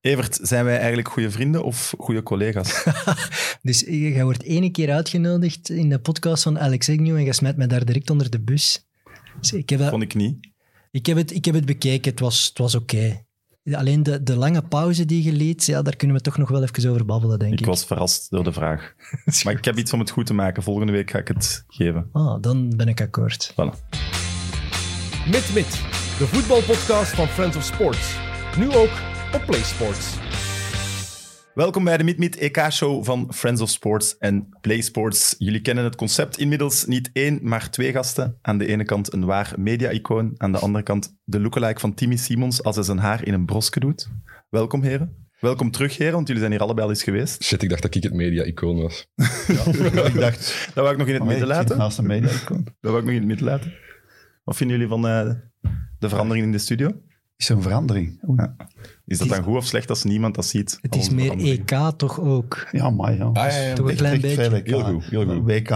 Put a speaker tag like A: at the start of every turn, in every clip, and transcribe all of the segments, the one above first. A: Evert, zijn wij eigenlijk goede vrienden of goede collega's?
B: Dus jij wordt ene keer uitgenodigd in de podcast van Alex Agnew en je smijt mij daar direct onder de bus. Dus ik, heb dat-
A: Vond ik niet.
B: ik, heb het, ik heb het bekeken, het was, het was oké. Alleen de, de lange pauze die je liet, ja, daar kunnen we toch nog wel even over babbelen, denk ik.
A: Ik was verrast door de vraag. Maar ik heb iets om het goed te maken. Volgende week ga ik het geven.
B: Ah, dan ben ik akkoord.
A: Voilà.
C: Mit Mit, de voetbalpodcast van Friends of Sports. Nu ook op PlaySports.
A: Welkom bij de Meet Meet EK-show van Friends of Sports en Play Sports. Jullie kennen het concept inmiddels. Niet één, maar twee gasten. Aan de ene kant een waar media-icoon. Aan de andere kant de lookalike van Timmy Simons als hij zijn haar in een broske doet. Welkom, heren. Welkom terug, heren, want jullie zijn hier allebei al eens geweest.
D: Shit, ik dacht dat ik het media-icoon was.
A: ik dacht, dat wou ik nog in het midden laten. Dat
E: Naast een media-icoon.
A: wou ik nog in het midden laten. Wat vinden jullie van eh, de verandering in de studio?
E: Is er een verandering? Oei.
A: Ja. Is dat dan goed of slecht als niemand dat ziet?
B: Het is
A: Al onze
B: meer
A: veranderingen.
B: EK toch ook.
E: Ja, maar ja.
D: Ah, ja, ja.
B: Toch een
E: Echt-
B: klein
E: echt
B: beetje.
E: veel E EK.
D: Heel goed, heel goed.
E: WK,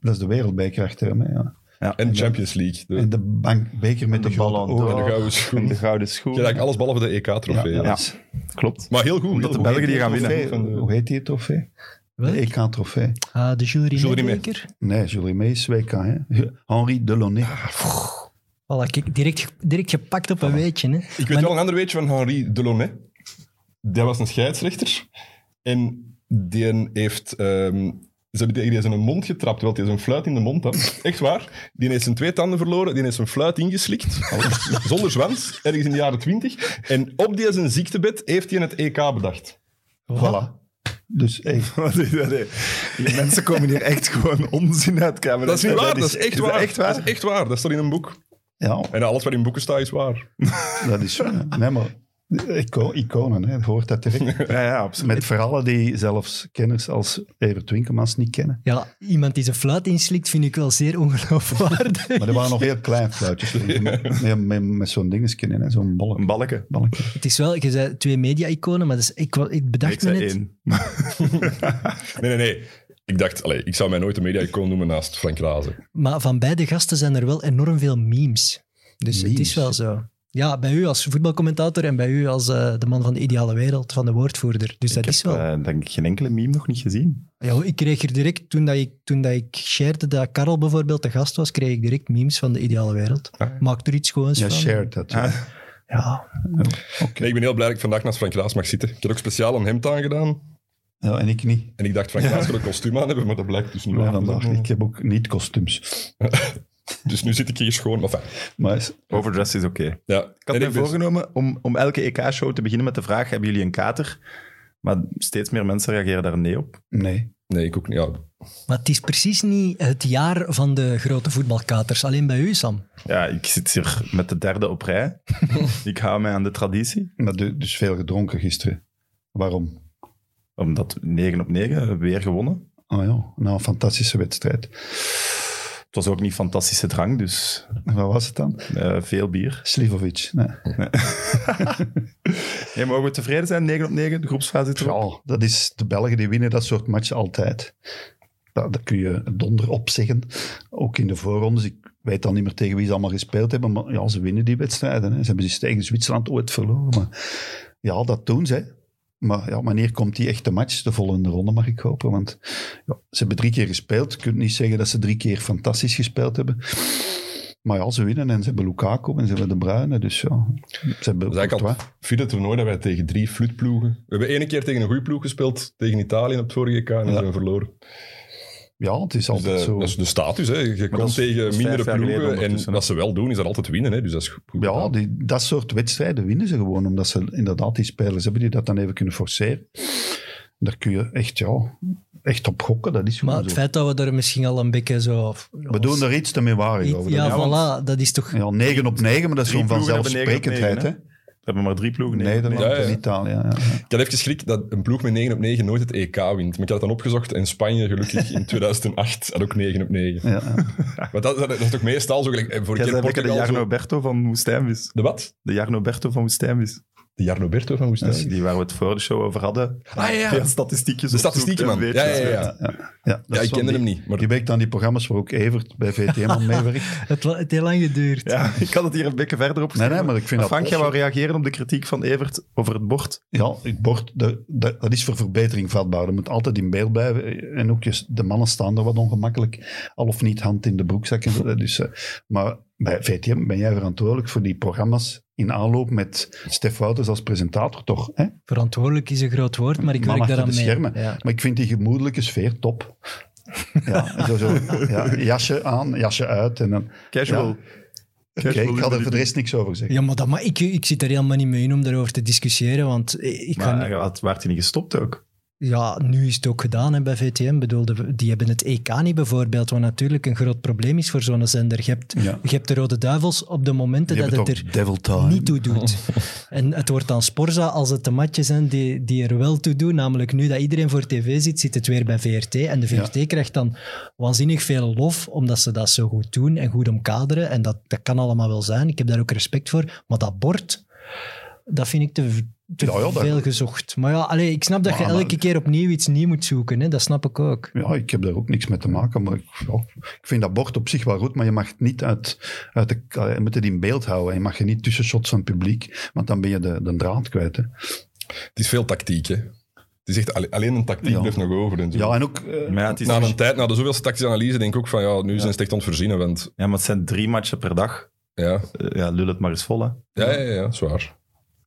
E: dat is de wereldbeker achter me. Ja.
D: En Champions League. De,
E: En de bank, beker met de,
A: de
E: grote
A: Ballon d'Or.
E: ogen.
D: de gouden schoen.
A: De
D: Je
A: gouden schoen.
D: hebt eigenlijk alles behalve de EK-trofee.
E: Ja, ja.
A: Ja, klopt.
D: Maar heel goed.
A: Omdat
D: heel
A: de
D: goed.
A: Belgen die gaan
D: Heel
A: winnen.
D: goed van de-
E: Hoe heet die trofee?
B: Welk?
E: De EK-trofee.
B: Ah, de jury
D: Jules Rimet.
B: zeker?
E: Nee, Julie Mees, WK. Hè? Henri Delaunay.
B: Voilà, kijk, direct, ge- direct gepakt op een weetje. Hè.
D: Ik weet wel een ander weetje van Henri Delaunay. Dat was een scheidsrechter. En die heeft... ehm, ze hebben die die is in een mond getrapt, terwijl hij zijn fluit in de mond had. Echt waar. Die heeft zijn twee tanden verloren, die heeft zijn fluit ingeslikt. zonder zwans, ergens in de jaren twintig. En op die zijn ziektebed heeft hij het EK bedacht.
E: Voilà. Dus hey,
A: Wat is dat, hè? Die mensen komen hier echt gewoon onzin uit kamer.
D: Dat is niet waar, dat is echt waar.
A: Echt waar?
D: Dat is echt waar, dat staat in een boek.
E: ja,
D: En alles wat in boeken staat is waar.
E: dat is... eh, Nee, maar ico- iconen, hè, hoort dat direct.
A: Ja, ja, absoluut.
E: Met verhalen die zelfs kenners als Evert Winkelmans niet kennen.
B: Ja, iemand die zijn fluit inslikt vind ik wel zeer ongeloofwaardig.
E: Maar er waren nog heel klein fluitjes. Met, met, met zo'n dingetje in, hè, zo'n bolle.
A: Een balken.
E: balkje.
B: Het is wel, je zei twee media-iconen, maar dat is, ik, wa- ik bedacht
A: Ik
B: me
A: zei
B: net...
A: één.
D: Nee, nee, nee. Ik dacht, allee, ik zou mij nooit een media-icoon noemen naast Frank Razen.
B: Maar van beide gasten zijn er wel enorm veel memes. Dus het is
E: Memes?
B: wel zo. Ja, bij u als voetbalcommentator en bij u als eh, de man van de ideale wereld, van de woordvoerder. Dus dat
A: ik
B: is
A: heb
B: wel...
A: eh, denk ik geen enkele meme nog niet gezien.
B: Ja, ik kreeg er direct, toen, dat ik, toen dat ik shared dat Karel bijvoorbeeld de gast was, kreeg ik direct memes van de ideale wereld. Maak er iets schoons
E: Ja,
B: van.
E: shared dat. ja.
B: Ja,
D: Nee, ik ben heel blij dat ik vandaag naast Frank Raas mag zitten. Ik had ook speciaal een hemd aangedaan.
E: Ja, en ik niet.
D: En ik dacht, Frank Raas wil een kostuum aan hebben, maar dat blijkt dus niet
E: Maar
D: waar.
E: vandaag, ik heb ook niet kostuums.
D: Dus nu zit ik hier schoon. Enfin,
E: Maar is-
A: Overdress is oké.
D: ja.
A: Ik had mij
D: En dus-
E: dus.
D: ben-
A: voorgenomen om, om elke EK-show te beginnen met de vraag, hebben jullie een kater? Maar steeds meer mensen reageren daar nee op.
E: nee.
D: Nee, ik ook niet. Ja.
B: maar het is precies niet het jaar van de grote voetbalkaters. Alleen bij u, Sam.
A: Ja, ik zit hier met de derde op rij. ik hou mij aan de traditie.
E: Maar du- dus veel gedronken gisteren. Waarom?
A: Omdat 9 op 9 weer gewonnen.
E: Oh ja, nou, een fantastische wedstrijd.
A: Het was ook niet fantastische drank, dus
E: En Wat was het dan?
A: eh, veel bier.
E: Slivovic. Nee.
A: Nee, mogen we tevreden zijn? 9 op 9, de groepsfase zit erop.
E: Ja, dat is de Belgen die winnen dat soort matchen altijd. Dat, dat kun je donder op zeggen. Ook in de voorrondes. Ik weet dan niet meer tegen wie ze allemaal gespeeld hebben. Maar ja, ze winnen die wedstrijden. Hè. Ze hebben dus tegen Zwitserland ooit verloren. Maar ja, dat doen ze. hè. Maar ja, wanneer komt die echte match? De volgende ronde mag ik hopen. Want ja, ze hebben drie keer gespeeld. Je kunt niet zeggen dat ze drie keer fantastisch gespeeld hebben. Maar ja, ze winnen en ze hebben Lukaku en ze hebben De Bruyne. Dus ja, ze hebben
D: Dat is eigenlijk al
E: Courtois.
D: het vierde toernooi dat wij tegen drie flutploegen... We hebben één keer tegen een goede ploeg gespeeld, tegen Italië op het vorige EK, en dan zijn we verloren.
E: Ja, het is
D: Dus
E: altijd
D: de,
E: zo.
D: dat is de status, hè. Je
A: dat
D: komt
A: is- dat
D: tegen
A: is
D: mindere
A: vijf jaar geleden
D: ploegen, en
A: ondertussen, hè.
D: wat ze wel doen, is dat altijd winnen, hè. Dus dat is goed
E: Ja,
D: gedaan.
E: die, dat soort wedstrijden winnen ze gewoon, omdat ze inderdaad die spelers hebben die dat dan even kunnen forceren. Daar kun je echt, ja, echt op gokken, dat is
B: Maar
E: gewoon
B: het
E: zo.
B: feit dat we er misschien al een beetje zo...
E: We doen er iets te meewarig over.
B: Ja,
E: Dat-
B: voilà, dat is toch...
E: ja, 9 op 9, maar dat is
A: Drie
E: gewoon
A: ploegen hebben negen op
E: vanzelfsprekendheid. Hè?
A: negen, We hebben maar drie ploegen. nee.
E: Nederland
D: Ja, ja.
E: en Italië. Ja, ja.
D: Ik had even schrik dat een ploeg met 9 op 9 nooit het EK wint. Maar ik had het dan opgezocht en Spanje gelukkig in 2008 had ook 9 op 9.
E: Ja, ja.
D: Maar dat, dat, dat is toch meestal zo gelijk. eh, Voor
A: Jij
D: een keer
A: bent lekker de
D: Portugal zo-
A: Jarno Berto van Woestijnvis.
D: De wat?
A: De Jarno Berto van Woestijnvis.
D: De Jarno Berto van Woestijn.
A: Dus Die waar we het voor de show over hadden.
D: Ah ja,
A: Veel statistiekjes
D: de
A: op zoek,
D: statistieken
A: hè,
D: man.
A: weet
D: Ja,
A: je.
D: ja, ja.
E: Ja, dat
D: ja
E: is
D: ik
E: van
D: kende
E: die-
D: hem niet. Maar
E: Die werkt aan die programma's waar ook Evert bij VTM aan meewerkt.
B: Het, wa- het heeft lang geduurd.
A: Ja, ik had het hier een beetje verder op
E: Nee,
A: geschreven.
E: nee, maar ik vind dat...
A: Frank, jij
E: tof.
A: wou reageren op de kritiek van Evert over het bord.
E: Ja, het bord, dat, dat, dat is voor verbetering vatbaar. Dat moet altijd in beeld blijven. En ook je- de mannen staan er wat ongemakkelijk. Al of niet hand in de broekzak. en zo. Dus, eh, maar bij VTM ben jij verantwoordelijk voor die programma's in aanloop met Stef Wouters als presentator, toch? Hè?
B: Verantwoordelijk is een groot woord, maar ik
E: Man
B: werk
E: achter
B: daaraan
E: de
B: mee.
E: schermen.
B: Ja.
E: Maar ik vind die gemoedelijke sfeer top. Ja, zo, zo, ja, jasje aan, jasje uit. En dan,
A: Casual.
E: Oké, ik ga er voor de rest niks over zeggen.
B: Ja, maar dat, ma- ik, ik zit er helemaal niet mee in om daarover te discussiëren, want ik ga
A: Maar had, waart je niet gestopt ook?
B: Ja, nu is het ook gedaan hè, bij VTM. Bedoel, de- die hebben het EK niet bijvoorbeeld, wat natuurlijk een groot probleem is voor zo'n zender. Je hebt,
E: Ja.
B: je hebt de Rode Duivels op de momenten
E: Die
B: dat
E: hebben
B: het
E: toch
B: er
E: devil time.
B: niet toe doet. en het wordt dan Sporza als het de matjes zijn die, die er wel toe doen. Namelijk nu dat iedereen voor tv zit, zit het weer bij VRT. En de VRT krijgt dan waanzinnig veel lof, omdat ze dat zo goed doen en goed omkaderen. En dat, dat kan allemaal wel zijn. Ik heb daar ook respect voor. Maar dat bord, dat vind ik te, te
E: Ja, ja, dat-
B: veel gezocht. Maar ja, allee, ik snap dat
E: Maar-
B: je
E: maar-
B: elke keer opnieuw iets nieuw moet zoeken. Hè? Dat snap ik ook.
E: Ja, ik heb daar ook niks mee te maken. Maar ik, ja, ik vind dat bord op zich wel goed, maar je mag het niet uit, uit de... Je moet het in beeld houden. en Je mag je niet tussenshots van het publiek, want dan ben je de, de draad kwijt. Hè.
D: het is veel tactiek, hè. Het is echt alle- alleen een tactiek
E: Ja.
D: blijft nog over. En zo.
E: Ja, en ook... eh,
A: Maar ja, het, is dus-
D: na
A: nog-
D: een tijd, na de zoveelste tactische analyse, denk ik ook van ja, nu zijn ze echt ontvoorzien. Want
A: ja, maar het zijn drie matchen per dag.
D: ja,
A: Eh, ja, lul het maar eens vol, hè.
D: ja, ja, ja, ja, zwaar.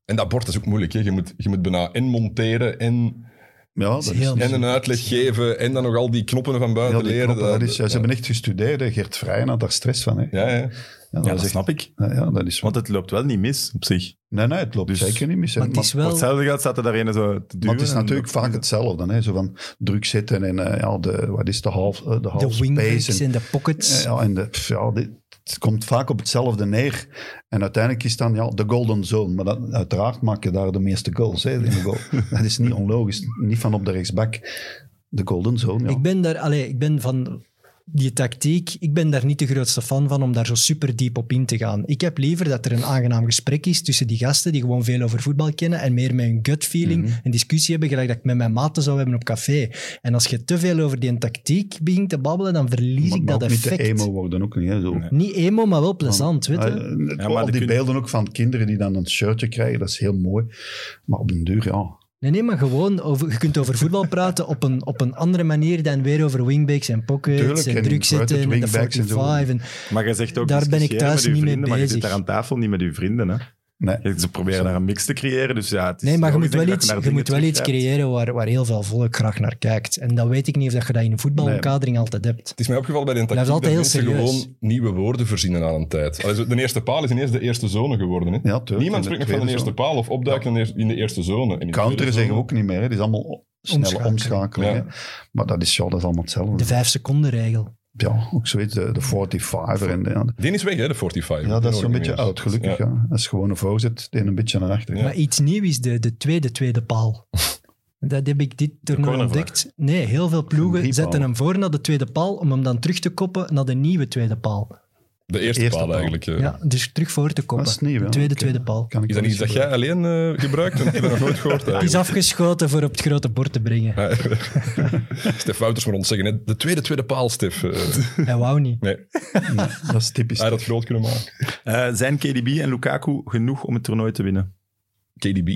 D: En dat bord is ook moeilijk. Hè. Je, moet, je moet bijna en monteren en,
E: ja, dat is...
B: heel
E: ja,
D: en een uitleg geven en dan nog al die knoppen van
E: die
D: buiten leren.
E: knoppen, dat is, ja,
D: eh, ja.
E: ze hebben echt gestudeerd. hè. Gert Vrijen had daar stress van. Hè. Ja,
D: Ja, ja.
E: dat
A: Ja,
E: is
A: dat
E: echt- eh,
A: snap ik.
E: ja, ja, dat is...
A: Want het loopt wel niet mis op zich.
E: Nee, nee, het loopt
A: Dus-
E: zeker niet mis. hè.
B: Maar het is
A: Voor
B: wel...
A: hetzelfde geld staat er daarin zo te duwen.
E: Maar het is
A: en-
E: natuurlijk vaak hetzelfde. Hè? Zo van druk zitten en eh, ja, de, wat is de half, eh, de half
B: De wingbacks
E: space.
B: en
E: En,
B: de pockets.
E: Eh, ja, en de, pff, ja, dit, het komt vaak op hetzelfde neer. En uiteindelijk is dan ja, de golden zone. Maar dat, uiteraard maak je daar de meeste goals. Hè, in de goal. dat is niet onlogisch. Niet van op de rechtsback. De golden zone, ja.
B: Ik ben daar, allee, ik ben van die tactiek, ik ben daar niet de grootste fan van om daar zo super diep op in te gaan. Ik heb liever dat er een aangenaam gesprek is tussen die gasten die gewoon veel over voetbal kennen en meer met hun gut feeling
E: Mhm.
B: een discussie hebben, gelijk dat ik met mijn maten zou hebben op café. En als je te veel over die tactiek begint te babbelen, dan verlies
E: maar,
B: ik
E: maar
B: dat
E: ook niet
B: effect.
E: de emo worden ook niet. Hè, zo.
B: Niet emo, maar wel plezant, weet
E: Ah,
B: je.
E: eh,
A: Ja,
E: al
A: maar
E: die
A: die kun-
E: beelden ook van kinderen die dan een shirtje krijgen, dat is heel mooi. Maar op den duur, ja.
B: Nee, nee, maar gewoon, over, je kunt over voetbal praten op een, op een andere manier dan weer over wingbacks en pockets
E: Tuurlijk,
B: en
E: en
B: druk
E: inverted
B: zitten en de
E: wingbacks en
B: 45
E: zo.
B: en
A: Maar jij zegt ook,
B: Daar ben ik
A: discussiëren
B: thuis
A: met uw
B: niet mee
A: vrienden, Maar je zit
B: bezig.
A: daar aan tafel niet met je vrienden, hè.
E: Nee.
A: Kijk, Ze proberen daar een mix te creëren, dus ja... Het is
B: Nee, maar je moet
A: logisch
B: wel
A: dat
B: iets,
A: naar
B: je
A: dingen
B: moet wel iets
A: terugkijkt.
B: creëren waar, waar heel veel volk graag naar kijkt. En dan weet ik niet of dat je dat in een voetbalomkadering altijd hebt.
D: Het is mij opgevallen bij de tactiek
B: Blijft
D: dat
B: altijd heel
D: mensen
B: serieus.
D: gewoon nieuwe woorden verzinnen aan een tijd. Allee, zo, de eerste paal is ineens de eerste zone geworden. Hè?
E: Ja, tuurlijk.
D: Niemand
E: En
D: spreekt nog
E: de
D: van de
E: tweede
D: eerste
E: zone.
D: paal of opduiken in de eer- in de eerste zone. En in de
E: Counteren
D: tweede
E: zeggen we
D: zone-
E: ook niet meer. Hè. Het is allemaal snelle
B: Omschakelen.
E: omschakeling.
D: Ja.
E: hè. Maar dat is, ja, dat is allemaal hetzelfde.
B: De vijf seconden regel.
E: ja, ook zoiets, de, de 45er. En de, ja,
D: Die is weg, hè, de 45.
E: ja, dat is
D: Die
E: zo'n
D: hoor ik
E: beetje
D: niet meer.
E: oud, gelukkig.
D: Ja.
E: Ja. Dat is gewoon een voorzet die een beetje naar achteren.
B: Maar iets nieuw is de, de tweede, tweede paal. Dat heb ik dit toernooi
A: cornervlag.
B: ontdekt. Nee, heel veel
E: Een
B: ploegen
E: driepaal.
B: zetten hem voor naar de tweede paal om hem dan terug te koppen naar de nieuwe tweede paal.
D: De eerste,
E: Eerste
D: paal
E: paal.
D: eigenlijk. eh.
B: Ja, dus terug voor te koppen.
E: Dat is nieuw,
B: De
E: ja.
B: tweede,
E: Oké.
B: tweede paal.
E: Kan ik
D: Is
E: wel
D: dat iets
E: eens
D: dat jij
E: gebruiken.
D: alleen eh, gebruikt? Want ik heb dat nog nooit gehoord.
B: Het
E: Ah,
B: is
D: eigenlijk.
B: afgeschoten voor op het grote bord te brengen.
D: Stef Wouters moet ons zeggen, hè, de tweede, tweede paal, Stef. eh,
B: Hij wou niet.
D: nee,
E: Nee, dat is typisch.
D: hij had dat groot kunnen maken.
A: Eh, zijn KDB en Lukaku genoeg om het toernooi te winnen?
D: KDB.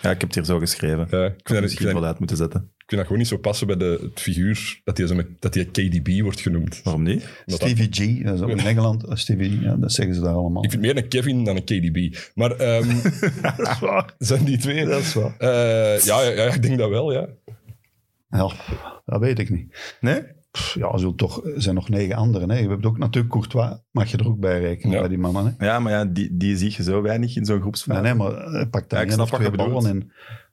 A: Ja, ik heb het hier zo geschreven.
D: Ja, ik, vind dat, ik,
A: Misschien
D: vind
A: wel
D: dat,
A: uit moeten zetten.
D: ik vind dat gewoon niet zo passen bij de, het figuur dat hij, zo met, dat hij KDB wordt genoemd.
A: Waarom niet?
D: Omdat dat-
E: Stevie G, dat is ook in Engeland. eh, Stevie G, ja, dat zeggen ze daar allemaal.
D: Ik vind meer een Kevin dan een KDB. Maar ehm,
E: dat is waar.
D: zijn die twee...
E: Dat is waar.
D: Eh, ja, ja, ja, ik denk dat wel, ja.
E: Ja, dat weet ik niet.
A: Nee?
E: Pff, Ja, er zullen toch, er zijn nog negen anderen. Hè. Je hebt ook natuurlijk Courtois, mag je er ook bij rekenen,
D: Ja.
E: bij die mannen. Hè.
A: Ja, maar ja, die, die zie je zo weinig in zo'n
E: Nee,
A: groepsfase.
E: nee, maar hij pakt
A: Ja,
E: daar
A: ik
E: één
A: snap
E: of
A: wat
E: twee
A: je bedoelt.
E: ballen in.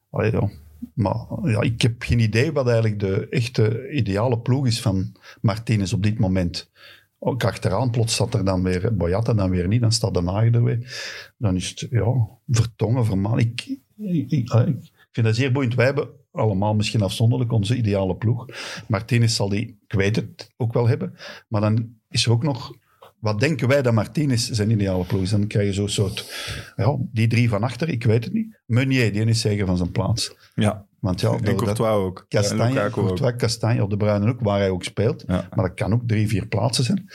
E: Allee, ja. Maar ja, ik heb geen idee wat eigenlijk de echte ideale ploeg is van Martinez op dit moment. Ook achteraan, plots zat er dan weer Boyata, dan weer niet, dan staat de Naaier er weer. Dan is het, ja, vertongen, vermaan. Ik, ik, ik, allee, ik vind dat zeer boeiend. Wij hebben allemaal misschien afzonderlijk onze ideale ploeg. Martinez zal die, ik weet het, ook wel hebben. Maar dan is er ook nog Wat denken wij dat Martinez zijn ideale ploeg is? Dan krijg je zo'n soort... Ja, die drie van achter, ik weet het niet. Meunier, die is zeker van zijn plaats.
A: Ja.
E: Want ja,
A: En
E: dat, dat,
A: Courtois ook. En
E: Kastanje,
A: Lukaku ook.
E: Courtois, Kastanje op de Bruinen ook, waar hij ook speelt.
A: Ja.
E: Maar dat kan ook drie, vier plaatsen zijn.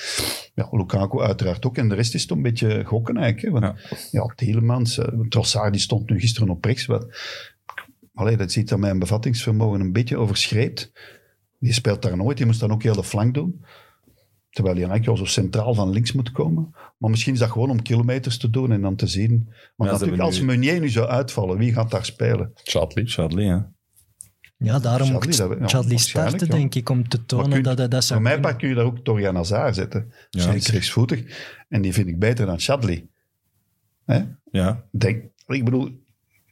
E: Ja, Lukaku uiteraard ook. En de rest is het een beetje gokken eigenlijk. hè. Want, ja. Tielemans, eh, Trossard die stond nu gisteren op rechts. Wat, allee, dat ziet dat mijn bevattingsvermogen een beetje overschreed. Die speelt daar nooit. Die moest dan ook heel de flank doen. Terwijl hij eigenlijk wel zo centraal van links moet komen. Maar misschien is dat gewoon om kilometers te doen en dan te zien. Maar
A: Ja, ze
E: natuurlijk,
A: hebben
E: als
A: nu-
E: Meunier nu zou uitvallen, wie gaat daar spelen?
D: Chadli.
A: Chadli, hè.
B: Ja, daarom
E: Chadli,
B: mocht
E: dat we- ja,
B: Chadli
E: waarschijnlijk,
B: starten,
E: ja.
B: denk ik, om te tonen
E: Maar kun-
B: dat hij dat zou
E: Voor mij
B: kunnen.
E: pak kun je daar ook Torian Hazard zetten.
A: Ja.
E: Zeker rechtsvoetig. En die vind ik beter dan Chadli. Hè?
A: Ja.
E: Denk, ik bedoel,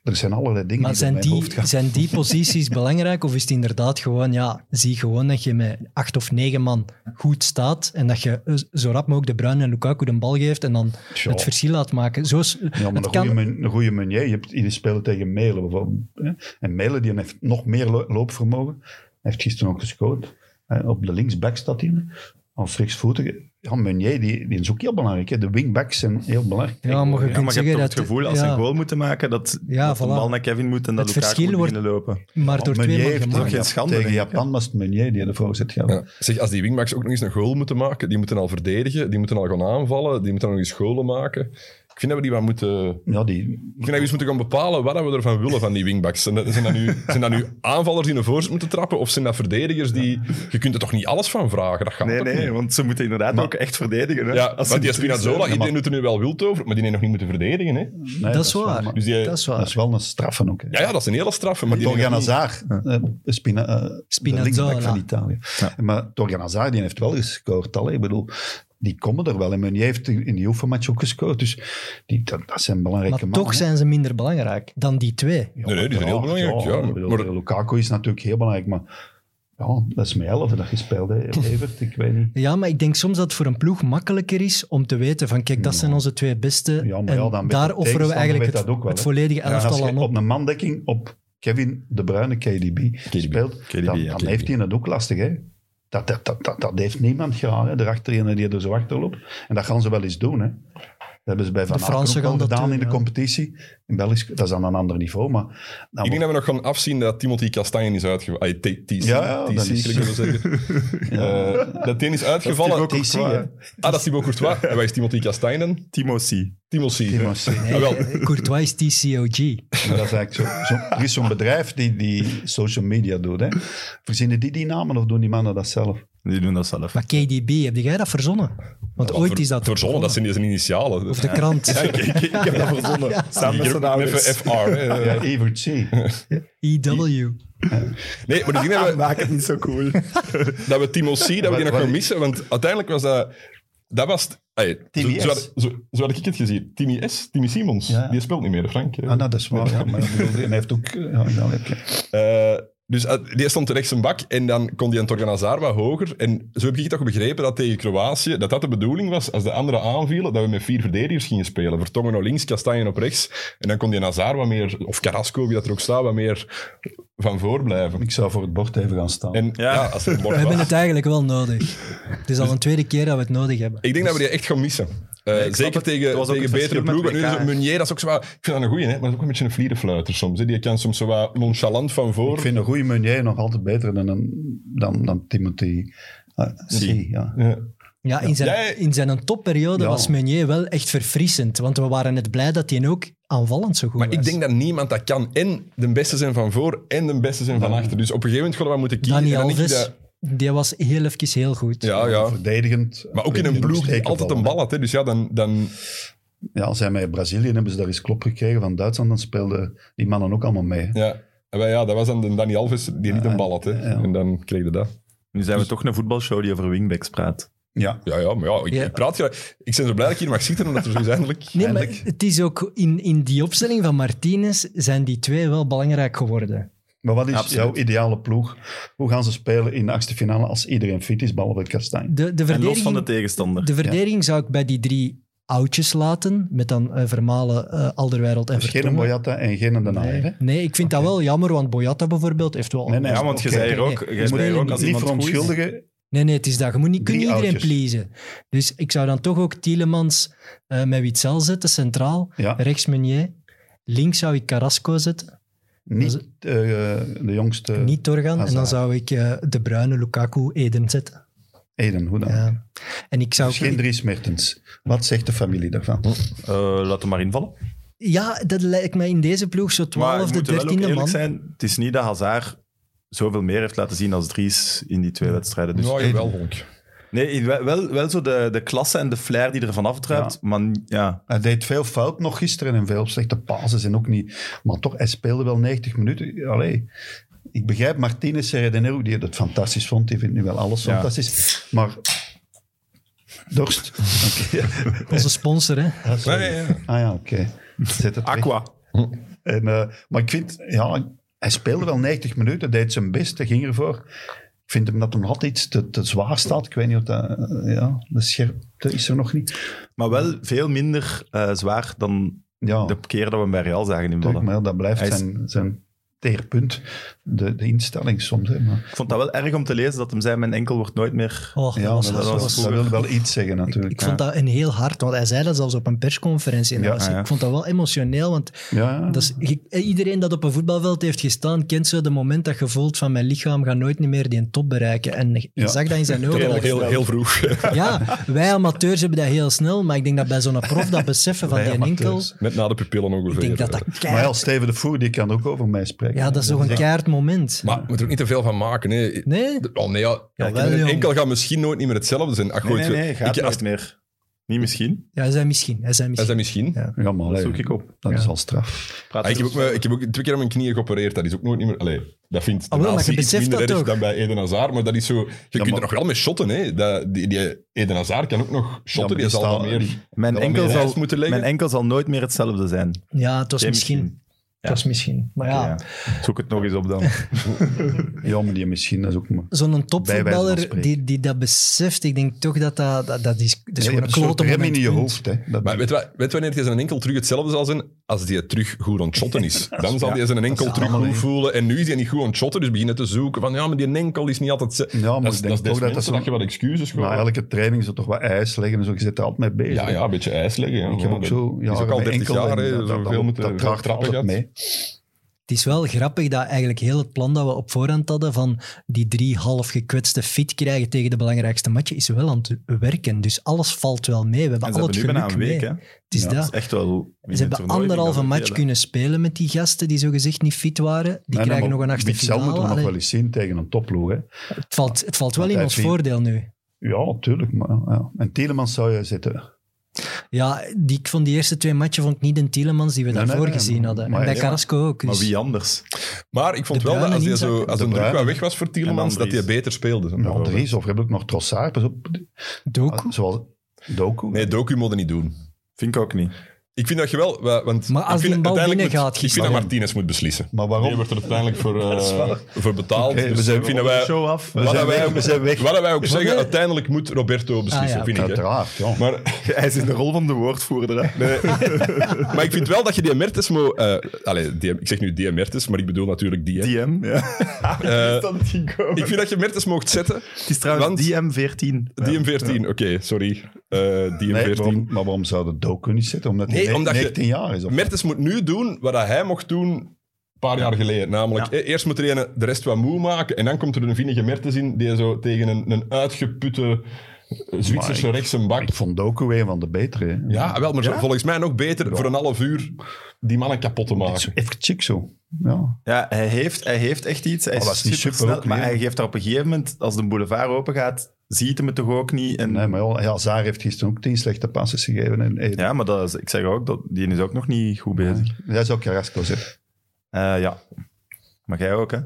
E: er zijn allerlei dingen
B: Maar
E: die door
B: zijn
E: mijn
B: die,
E: hoofd gaan.
B: zijn die posities belangrijk? Of is het inderdaad gewoon, ja, zie gewoon dat je met acht of negen man goed staat en dat je eh, zo rap mogelijk de Bruin en Lukaku de bal geeft en dan
E: Tja.
B: het verschil laat maken? Zo is,
E: Ja, maar
B: het
E: een,
B: kan-
E: goede, men- een goede meunier. Je hebt die spelen tegen Melen bijvoorbeeld. hè. En Melen die heeft nog meer lo- loopvermogen. Hij heeft gisteren ook gescoord. Hè, Op de linksback staat hij nu, als rechtsvoetige. Ja, Meunier die, die is ook heel belangrijk. Hè. De wingbacks zijn heel belangrijk.
B: ja, maar je
A: Ja,
B: kunt
A: maar je hebt
B: zeggen
A: toch
B: dat...
A: het gevoel, als ze
B: ja,
A: een goal moeten maken, dat,
B: Ja,
A: dat de
B: voilà.
A: bal naar Kevin moet en dat
B: Het
A: Lukaku
B: verschil
A: moet
B: wordt-
A: beginnen lopen.
B: Maar door
E: Want Meunier
B: twee man
E: heeft
A: gemaakt.
E: tegen
A: Geen
E: Jap-
A: schande,
E: Tegen
A: denk ik,
E: Japan was het Meunier die de voorzet gaf.
D: Ja. Zeg, als die wingbacks ook nog eens een goal moeten maken, die moeten al verdedigen, die moeten al gaan aanvallen, die moeten dan nog eens goalen maken. Ik vind dat we die wat moeten...
E: Ja, die,
D: Ik vind dat we eens moeten gaan bepalen wat we ervan willen van die wingbacks. Zijn dat, zijn dat, nu, zijn dat nu aanvallers die een voorzet moeten trappen, of zijn dat verdedigers die... Je kunt er toch niet alles van vragen? Dat gaat
A: Nee,
D: toch niet?
A: nee, want ze moeten inderdaad ook echt verdedigen. Hè?
D: Ja, want die
A: ze terug zijn.
D: Spinazzola,
A: Ja, maar-
D: iedereen doet er nu wel wild over, maar die heeft nog niet moeten verdedigen. Hè?
E: nee,
B: dat is
E: wel-
B: waar.
E: maar-
D: Dus die,
B: Dat is
E: Dat
B: waar.
E: is wel een straffen ook. hè.
D: ja, ja, dat is een hele straffe. Maar die
E: Torgan
D: heeft nog niet-
E: Hazard, eh, Spina, eh, de
B: Spinazzola.
E: linksback van Italië. Maar Torgan Hazard die heeft wel gescoord. Al, hè. ik bedoel, die komen er wel. En Meunier heeft in in die oefenmatch ook gescoord. Dus die, dat, dat zijn belangrijke
B: Maar
E: mannen.
B: toch
E: hè.
B: zijn ze minder belangrijk dan die twee.
E: Ja,
D: Nee, nee, die zijn heel belangrijk, ja.
E: ik bedoel,
D: Maar-
E: Lukaku is natuurlijk heel belangrijk, maar ja, dat is met 11 dat gespeeld, hè. Evert, ik weet niet.
B: Ja, maar ik denk soms dat het voor een ploeg makkelijker is om te weten van kijk, dat zijn onze twee beste.
E: Ja, maar
B: en
E: ja, dan weet de
B: daar offeren we
E: tegenstander
B: eigenlijk
E: weet
B: het,
E: dat ook wel,
B: het
E: hè.
B: volledige
E: En als
B: elftal
E: je
B: aan op.
E: op een mandekking op Kevin De Bruyne, KDB, speelt,
A: KDB,
E: dan,
A: ja,
E: dan
A: KDB.
E: heeft hij het ook lastig. Hè? Dat, dat, dat, dat, dat heeft niemand graag, hè? erachter ene die er zo achter loopt. En dat gaan ze wel eens doen. Hè? Dat hebben ze bij Van
B: De Fransen
E: Aken ook al
B: gaan dat
E: gedaan
B: doen,
E: in de
B: ja.
E: competitie. In Belgisch, dat is aan een ander niveau, maar... dan
D: Ik denk
E: wordt-
D: dat we nog gaan afzien dat Timothy Castagne is uitgevallen.
E: Ja, ja, dat is-
D: kunnen we zeggen. Eh, dat die is uitgevallen.
A: Thibaut
E: TC,
A: Courtois,
E: hè.
D: Ah, dat is Thibaut Courtois. En wij is Timothy Castagne dan?
A: Timo C.
D: Timothy.
E: die was-
D: Ah, wel.
B: Courtois is TCOG.
E: Maar dat is eigenlijk zo, zo, er is zo'n bedrijf die, die social media doet. Hè? Verzinnen die die namen of doen die mannen dat zelf?
A: Die doen dat zelf.
B: Maar KDB, heb jij dat verzonnen? Want
D: Ja,
B: ooit
D: ver-
B: is dat...
D: Verzonnen, dat zijn die zijn initialen.
B: Of de krant.
A: ik heb dat verzonnen. Samen met zijn
D: Even
A: ouders.
D: FR. hè.
E: Ja, Evert C. Ah,
B: EW.
D: Nee, maar ik denk dat we,
A: Maak het niet zo cool.
D: dat we Timo C, dat we die nog
E: Wat-
D: gaan missen. Want uiteindelijk was dat... Dat was... het- Ay, zo,
E: Timmy
D: zo,
E: S.
D: had, zo, zo had ik het gezien. Timmy S, Timmy Simons.
E: Ja.
D: Die speelt niet meer, Frank.
E: Ah, nou, dat is waar. Ja, maar ik bedoel, en hij heeft ook... Ja, ja, oké.
D: Eh, dus eh, die stond rechts een bak en dan kon die Antorgan Hazard wat hoger. En zo heb ik toch begrepen dat tegen Kroatië, dat dat de bedoeling was, als de anderen aanvielen, dat we met vier verdedigers gingen spelen. Vertongen op links, Kastanje op rechts. En dan kon die Hazard wat meer, of Carrasco, wie dat er ook staat, wat meer van voor blijven.
E: Ik zou voor het bord even gaan staan.
D: En ja,
A: Ja.
D: als er een
B: We
D: bord
B: hebben
D: was.
B: het eigenlijk wel nodig. Het is al een tweede keer dat we het nodig hebben.
D: Ik denk dat we die echt gaan missen. Eh,
A: ik snap
D: zeker
A: het. Dat
D: tegen,
A: was ook
D: tegen
A: het
D: betere
A: verschil met
D: ploegen. Nu is
A: WK,
D: het Meunier, dat is ook zo wat- Ik vind dat een goeie, hè, maar dat is ook een beetje een vlierenfluiter soms. Hè. Die kan soms zo wat nonchalant van voor.
E: Ik vind een goede Meunier nog altijd beter dan, een- dan, dan Timothy eh, C. Ja.
D: Ja.
B: Ja, in
D: Jij-
B: zijn, in zijn topperiode
E: Ja.
B: was Meunier wel echt verfrissend. Want we waren net blij dat hij ook aanvallend zo goed
D: Maar
B: was.
D: ik denk dat niemand dat kan. En de beste zijn van voor en de beste zijn van achter. Dus op een gegeven moment gaan we moeten kiezen.
B: Dani
D: En dan denk ik
B: Alves,
D: dat-
B: die was heel even heel goed.
D: ja, Ah, ja.
E: Verdedigend.
D: Maar ook in een ploeg die
E: steken
D: altijd een
E: vallen,
D: bal had. Hè. Dus ja, dan, dan
E: hè. Ja, als hij met Brazilië hebben ze daar eens klop gekregen van Duitsland, dan speelden die mannen ook allemaal mee.
D: ja. En wij- ja, dat was dan de Dani Alves die niet een bal had. Hè.
E: ja.
D: En dan kreeg je dat.
A: Nu zijn we toch een voetbalshow die over wingbacks praat.
E: Ja.
D: Ja, ja, maar ja, ik,
B: Ja.
D: ik praat graag. Ik ben zo blij dat ik hier mag zitten, omdat er zo is eindelijk...
B: Nee, maar
D: eindelijk-
B: het is ook in, in die opstelling van Martinez zijn die twee wel belangrijk geworden.
E: Maar wat is
A: Absoluut.
E: jouw ideale ploeg? Hoe gaan ze spelen in de achtste finale als iedereen fit is, behalve Kastanje?
B: De, de
A: En
B: verdediging,
A: los van de tegenstander.
B: de verdediging zou ik bij die drie oudjes laten, met dan eh, Vermalen, eh, Alderweireld en
E: Dus geen een
B: Vertongen.
E: Boyata en geen een Den Haag, hè?
B: Nee, nee, ik vind dat wel jammer, want Boyata bijvoorbeeld heeft wel...
E: Nee, nee.
A: Ja, want je
E: Oké.
A: zei er ook, je
B: Nee, nee,
A: zei er
B: nee,
A: ook als
E: Niet
A: iemand goed is.
E: verontschuldigen.
B: Nee, nee, het is dat. Je moet niet kunnen
E: Drie
B: iedereen
E: oudjes.
B: pleasen. Dus ik zou dan toch ook Tielemans eh met Witzel zetten, centraal.
E: Ja.
B: Rechts Meunier. Links zou ik Carrasco zetten,
E: Niet
B: Dat
E: eh, de jongste
B: niet doorgaan. En dan
E: Hazard.
B: zou ik eh, De Bruyne, Lukaku, Eden zetten.
E: Eden, hoe dan?
B: Ja. En ik zou...
E: Dus geen Dries Mertens. Wat zegt de familie daarvan?
B: Hm.
A: Eh, laat hem maar invallen.
B: Ja, dat lijkt mij in deze ploeg zo
A: Maar
B: 12
A: we
B: de
A: moeten wel ook
B: 13e
A: eerlijk
B: man.
A: zijn, het is niet dat Hazard zoveel meer heeft laten zien als Dries in die twee wedstrijden. Dus
D: nou, jawel, Honk.
A: Nee, wel- wel, wel zo de, de klasse en de flair die ervan afdruipt. Maar n- ja,
E: Hij deed veel fout nog gisteren en veel slechte pases en ook niet. Maar toch, hij speelde wel 90 minuten. Allee, ik begrijp Martinez Serradinero, die het fantastisch vond. Die vindt nu wel alles
A: Ja.
E: fantastisch. Maar... Dorst? Oké.
B: Onze sponsor, hè.
E: Ah, sorry.
D: Nee, ja, ja.
E: Ah ja, oké. Zet het weg.
A: Aqua.
E: En, eh, maar ik vind, ja, hij speelde wel 90 minuten, deed zijn best, hij ging ervoor. Ik vind hem dat hem nog altijd iets te, te zwaar staat. Ik weet niet of dat, eh, ja, de scherpte is er nog niet.
A: Maar wel veel minder eh, zwaar dan
E: Ja,
A: de keer dat we hem bij Real zagen
E: natuurlijk,
A: invallen.
E: maar dat blijft
A: Hij is-
E: zijn, zijn teerpunt, de, de instelling soms. Hè, maar,
A: Ik vond dat wel erg om te lezen dat hem zei, mijn enkel wordt nooit meer...
B: Oh,
E: ja,
B: was-
E: maar dat,
A: dat
E: was-
A: was
E: dat wil wel iets zeggen
B: Ik,
E: natuurlijk.
B: ik vond dat een heel hard, want hij zei dat zelfs op een persconferentie. En dat
E: Ja,
B: was-
A: ja.
B: Ik vond dat wel emotioneel, want
E: ja, ja.
B: dat is, je- iedereen dat op een voetbalveld heeft gestaan, kent zo de moment dat je voelt van mijn lichaam gaat nooit niet meer die top bereiken. En je
E: Ja.
B: zag dat in zijn ogen.
D: Heel,
B: dat-
D: heel, heel vroeg.
B: ja, wij amateurs hebben dat heel snel, maar ik denk dat bij zo'n prof dat beseffen van
E: Wij
B: die
E: amateurs.
B: enkel...
D: Net na de pupillen ongeveer.
B: Ik denk dat dat
E: maar
B: keihard...
E: ja, Steven de Voer, die kan er ook over mij spreken.
B: Ja, dat is toch een keihard moment.
D: Maar je moet er ook niet te veel van maken. Hè.
B: Nee?
D: De- Oh nee, ja. Kijk,
B: Jawel,
D: een
B: jong.
D: enkel gaat misschien nooit niet meer hetzelfde zijn. Ach,
A: Nee,
D: goed,
A: nee, nee, gaat
D: ik, als,
A: nooit meer. Niet misschien.
B: Ja, hij zei misschien. Hij zei
D: hij
B: misschien.
D: zei misschien.
E: Ja, maar allee,
A: zoek ik op.
E: dat is al straf.
A: Praat dus.
D: Ah, ik, heb ook,
A: eens.
D: me- ik heb ook twee keer aan mijn knieën geopereerd. Dat is ook nooit niet meer... Allee, dat vindt de
B: Ah, wel, maar
D: natie
B: je
D: iets
B: beseft
D: minder
B: dat
D: erg
B: ook.
D: dan bij Eden Hazard. Maar dat is zo... Je kunt
E: maar-
D: er nog wel mee shotten. Hè. Dat, die, die Eden Hazard kan ook nog
E: Ja, maar
D: shotten.
E: die
D: die zal
E: staan-
D: wat meer...
E: die-
A: Mijn
D: dat we meer
A: enkel,
D: ijs
A: zal,
D: moeten leggen.
A: mijn enkel zal nooit meer hetzelfde zijn.
B: Ja, het was
A: Jij
B: misschien.
A: misschien.
B: Het was misschien. Maar
A: Ja.
B: ja,
A: Zoek het nog eens op dan.
E: Ja, maar die misschien, dat is ook maar...
B: zo'n
E: Bij wijze van
B: topvoetballer
E: spreken.
B: die, die dat beseft, ik denk toch dat dat, dat, dat is, dat is
E: Ja, je
B: gewoon
E: hebt
B: een
E: een soort
B: klote
E: rem in
B: moment,
E: je
B: punt.
E: hoofd. Hè. Dat,
D: Maar weet je wat- weet je wanneer hij zijn enkel terug hetzelfde zal zijn? Als die terug goed aan het shotten is. Dan zal hij zijn enkel
E: is
D: terug
E: allemaal
D: goed
E: één.
D: voelen. En nu is hij niet goed aan het shotten. Dus beginnen te zoeken van... Ja, maar die enkel is niet altijd... ze-
E: ja, maar
D: dat,
E: ik
D: is-
E: denk
D: dat is
E: toch dat dat
D: mensen
E: zo'n-
D: dat je wat excuses gewoon...
E: Na elke training zo toch wat ijs leggen en zo. Je zit er altijd mee bezig.
D: Ja, ja, een beetje ijs leggen. Ja.
E: Ik heb ook zo... Ja,
D: is ook al 30 jaar, hè, zoveel moeten
E: dat
D: eh, veel
E: draagt
D: trappen
E: altijd
D: gehad.
E: mee.
B: Het is wel grappig dat eigenlijk heel het plan dat we op voorhand hadden van die drie half gekwetste fit krijgen tegen de belangrijkste matje, is wel aan het werken. Dus alles valt wel mee. We hebben
A: En ze
B: al
A: hebben
B: het
A: nu bijna
B: geluk
A: een
B: mee.
A: week, hè.
B: Het is
E: Ja,
A: Dat
B: dat.
A: is echt wel... in
B: Ze
A: het
B: hebben
A: toernooi vind
B: anderhalve
A: ik dat
B: match
A: wel
B: kunnen spelen met die gasten die zogezegd niet fit waren. Die
E: Nee, nee,
B: krijgen nog
E: maar
B: een achtste
E: Witzel
B: finale.
E: moeten we nog
B: Allee,
E: wel eens zien tegen een topploeg. Hè.
B: het, valt, het valt wel
E: Want
B: in
E: hij
B: ons
E: vindt-
B: voordeel nu.
E: Ja, tuurlijk. Maar, ja. En Tielemans zou je zitten.
B: Ja, die, ik vond die eerste twee matchen vond ik niet een Tielemans die we
E: Nee,
B: daarvoor
E: nee, nee,
B: gezien
E: maar-
B: hadden.
E: maar-
B: en bij
E: ja,
B: Carrasco ook.
A: Maar
B: dus-
A: wie anders?
D: Maar ik vond
B: De
D: wel dat als,
B: Bruyne
D: hij zo,
B: inzakken.
D: als
E: De
D: een druk
E: Bruyne.
D: wat weg was voor Tielemans,
A: En
D: dat
A: Andries.
D: hij beter speelde. zo.
E: Nou, er is, of heb ik nog Trossard. Pas op. Ah,
B: Doku.
E: Zoals Doku.
D: Nee, Doku moet dat niet doen.
A: Vind ik ook niet.
D: Ik vind dat je wel... wa- Want
B: Maar als
D: ik vind
B: die bal
D: uiteindelijk
B: binnen
D: moet-
B: gaat,
D: Ik vind dat
B: Gisteren.
D: Martinez moet beslissen.
E: Maar
D: Die
E: waarom?
D: wordt er uiteindelijk voor, eh, voor betaald.
E: Oké, we
D: dus
E: zijn-
D: ik vind dat wij,
A: Show af.
D: wat, dat wij,
E: weg,
D: ook-
E: we zijn weg.
D: wat dat wij ook zeggen,
B: wij-
D: uiteindelijk moet Roberto beslissen,
B: Ah, ja,
D: vind ik. hè.
E: Uiteraard, ja.
D: Maar,
A: Hij is in de rol van de woordvoerder. Hè?
D: maar ik vind wel dat je die Mertens moet... eh, allee, die- ik zeg nu die Mertens, maar ik bedoel natuurlijk die. hè.
A: DM, ja.
D: Eh,
A: Dat het ging komen.
D: ik vind dat je Mertens mocht zetten.
A: Het is trouwens
D: Want-
A: DM14.
D: DM14, oké, sorry. Eh DM14.
E: Nee, waarom, maar waarom zou de Doku niet zitten? Omdat hij
D: Nee,
E: ne-
D: omdat je-
E: 19 jaar is. Of...
D: Mertens moet nu doen wat dat hij mocht doen een paar jaar geleden. Namelijk, eh, eerst moet er ene de rest wat moe maken. En dan komt er een vinnige Mertens in die zo tegen een, een uitgeputte eh, Zwitserse
E: Maar
D: rechtse bak.
E: Ik vond Doku een van de betere. Hè.
D: Ja, wel, maar zo- volgens mij nog beter voor een half uur die mannen kapot te maken.
E: Even chic zo. Ja.
A: Ja, hij heeft, hij heeft echt iets. Hij
E: Maar
A: Oh, is
E: dat is niet
A: supersnel,
E: super ook,
A: maar
E: nee.
A: hij geeft er op een gegeven moment, als de boulevard open gaat, ziet hem het toch ook niet. En,
E: Nee, maar ja, Hazard heeft gisteren ook tien slechte passes gegeven. En Eden.
A: Ja, maar dat is, ik zeg ook, dat, die is ook nog niet goed bezig.
E: Jij zou Carrasco zetten.
A: Eh, ja. Maar jij ook, hè?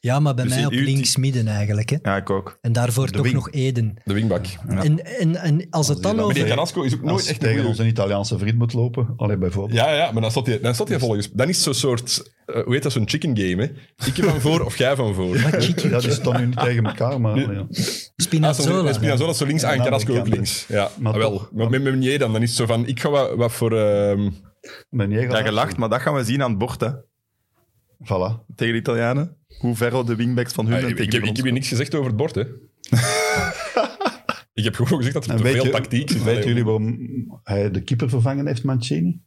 B: Ja, maar bij
A: Dus
B: mij
A: in
B: op
A: uw team-
B: links-midden eigenlijk. Hè.
A: Ja, ik ook.
B: En daarvoor
E: De
B: toch
E: wing.
B: nog Eden.
D: De wingback.
B: En, en, en als het
E: die
B: dan
E: dan
D: Maar die
B: over...
D: Carrasco is ook nooit
E: Als
D: echt een
E: tegen
D: goeie-
E: onze Italiaanse vriend moet lopen. Allee, bijvoorbeeld.
D: Ja, ja, maar dan staat hij, dan staat hij volgens... Dan is zo'n soort... eh, hoe heet dat? Zo'n chicken game, hè? Ik heb van voor of jij van voor.
B: Wat chic,
E: Ja, die staan nu niet tegen elkaar, maar... Ja.
D: Ah, zo-
B: Spinazzola.
D: Spinazzola is zo links
E: Ja,
D: en
E: aan de
D: Carrasco ook
E: andere kant,
D: links. Ja,
E: Maar
D: maar wel.
E: toch-
D: Maar met Meunier dan, dan is het zo van, ik ga wat, wat voor... ehm,
E: Meunier
A: Ja,
E: gaat
A: gelacht, maar dat gaan we zien aan het bord, hè?
E: Voilà.
A: Tegen de Italianen. Hoe ver de wingbacks van hun
D: ah,
A: en
D: ik,
A: tegen
D: ik
A: die van
D: heb, ik
A: ons
D: heb je niks gezegd over het bord, hè. Ik heb gewoon gezegd dat er
E: En
D: te
E: weet
D: veel
E: je-
D: tactiek zit.
E: Weten
D: Allee,
E: jullie waarom hij de keeper vervangen heeft, Mancini?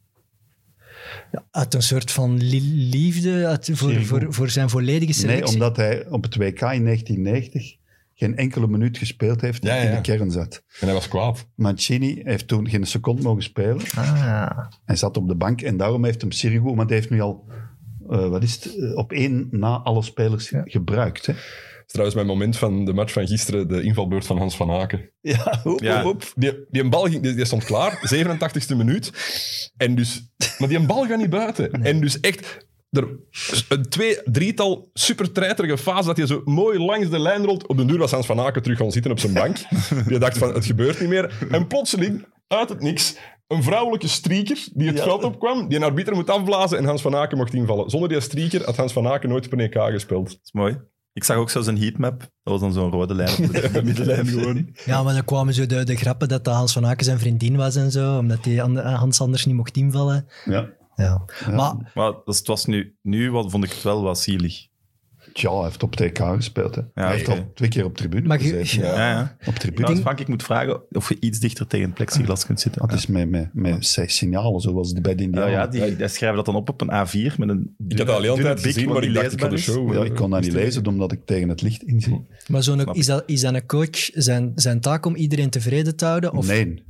B: Uit een soort van li- liefde uit, voor,
E: Zeer goed.
B: voor, voor zijn volledige selectie.
E: Nee, omdat hij op het WK in 1990 geen enkele minuut gespeeld heeft
D: Ja,
E: en in
D: ja.
E: de kern zat.
D: En hij was kwaad.
E: Mancini heeft toen geen seconde mogen spelen.
B: Ah.
E: Hij zat op de bank en daarom heeft hem Sirigu, want hij heeft nu al, eh, wat is het, eh, op één na alle spelers gebruikt. Hè?
D: Dat is trouwens mijn moment van de match van gisteren, de invalbeurt van Hans van Haken.
E: Ja, hoep,
A: Ja.
E: hoep, hoep.
D: Die, die bal ging, die, die stond klaar, 87e minuut. En dus, maar die bal gaat niet buiten. En dus echt er, een twee, drietal super treiterige fases dat je zo mooi langs de lijn rolt. Op den duur was Hans van Aken terug gaan zitten op zijn bank. Die dacht van, het gebeurt niet meer. En plotseling, uit het niks, een vrouwelijke strieker die het
E: Ja.
D: veld opkwam, die een arbiter moet afblazen en Hans van Aken mocht invallen. Zonder die strieker had Hans van Aken nooit op een EK gespeeld.
A: is mooi. Ik zag ook zelfs een heatmap. Dat was dan zo'n rode lijn op de, de middenlijn gewoon.
B: Ja, maar dan kwamen zo de, de grappen dat de Hans van Aken zijn vriendin was en zo, omdat die ander- Hans anders niet mocht invallen.
E: Ja.
B: Ja.
E: Ja.
B: Maar
A: Maar dat is- het was nu, nu wat, vond ik het wel wat zielig.
E: Tja, hij heeft op TK gespeeld. Hè. hij heeft
A: oké.
E: al twee keer op tribune
B: Maar je-
E: gezeten.
B: ja.
A: Ja, ja.
E: Op
A: Nou,
E: tribune.
A: dus Frank, ik moet vragen of je iets dichter tegen het plexiglas kunt zitten.
E: Dat is met, met, met zijn signalen, zoals bij de
A: Ja,
E: Indianen.
A: ja die, die schrijven dat dan op op een A4 met een.
D: Ik had dat al heel
A: dunne
D: tijd
A: bik,
D: gezien,
A: wat
D: maar
A: niet
D: ik dacht,
A: leesbaar
D: ik ga de
A: is.
D: show...
E: Ja,
D: eh,
E: ik kon dat niet lezen, omdat ik tegen het licht inzie.
B: Maar zo'n,
A: Snap
B: is, dat, is dat een coach zijn, zijn taak om iedereen tevreden te houden? Of,
E: Nee,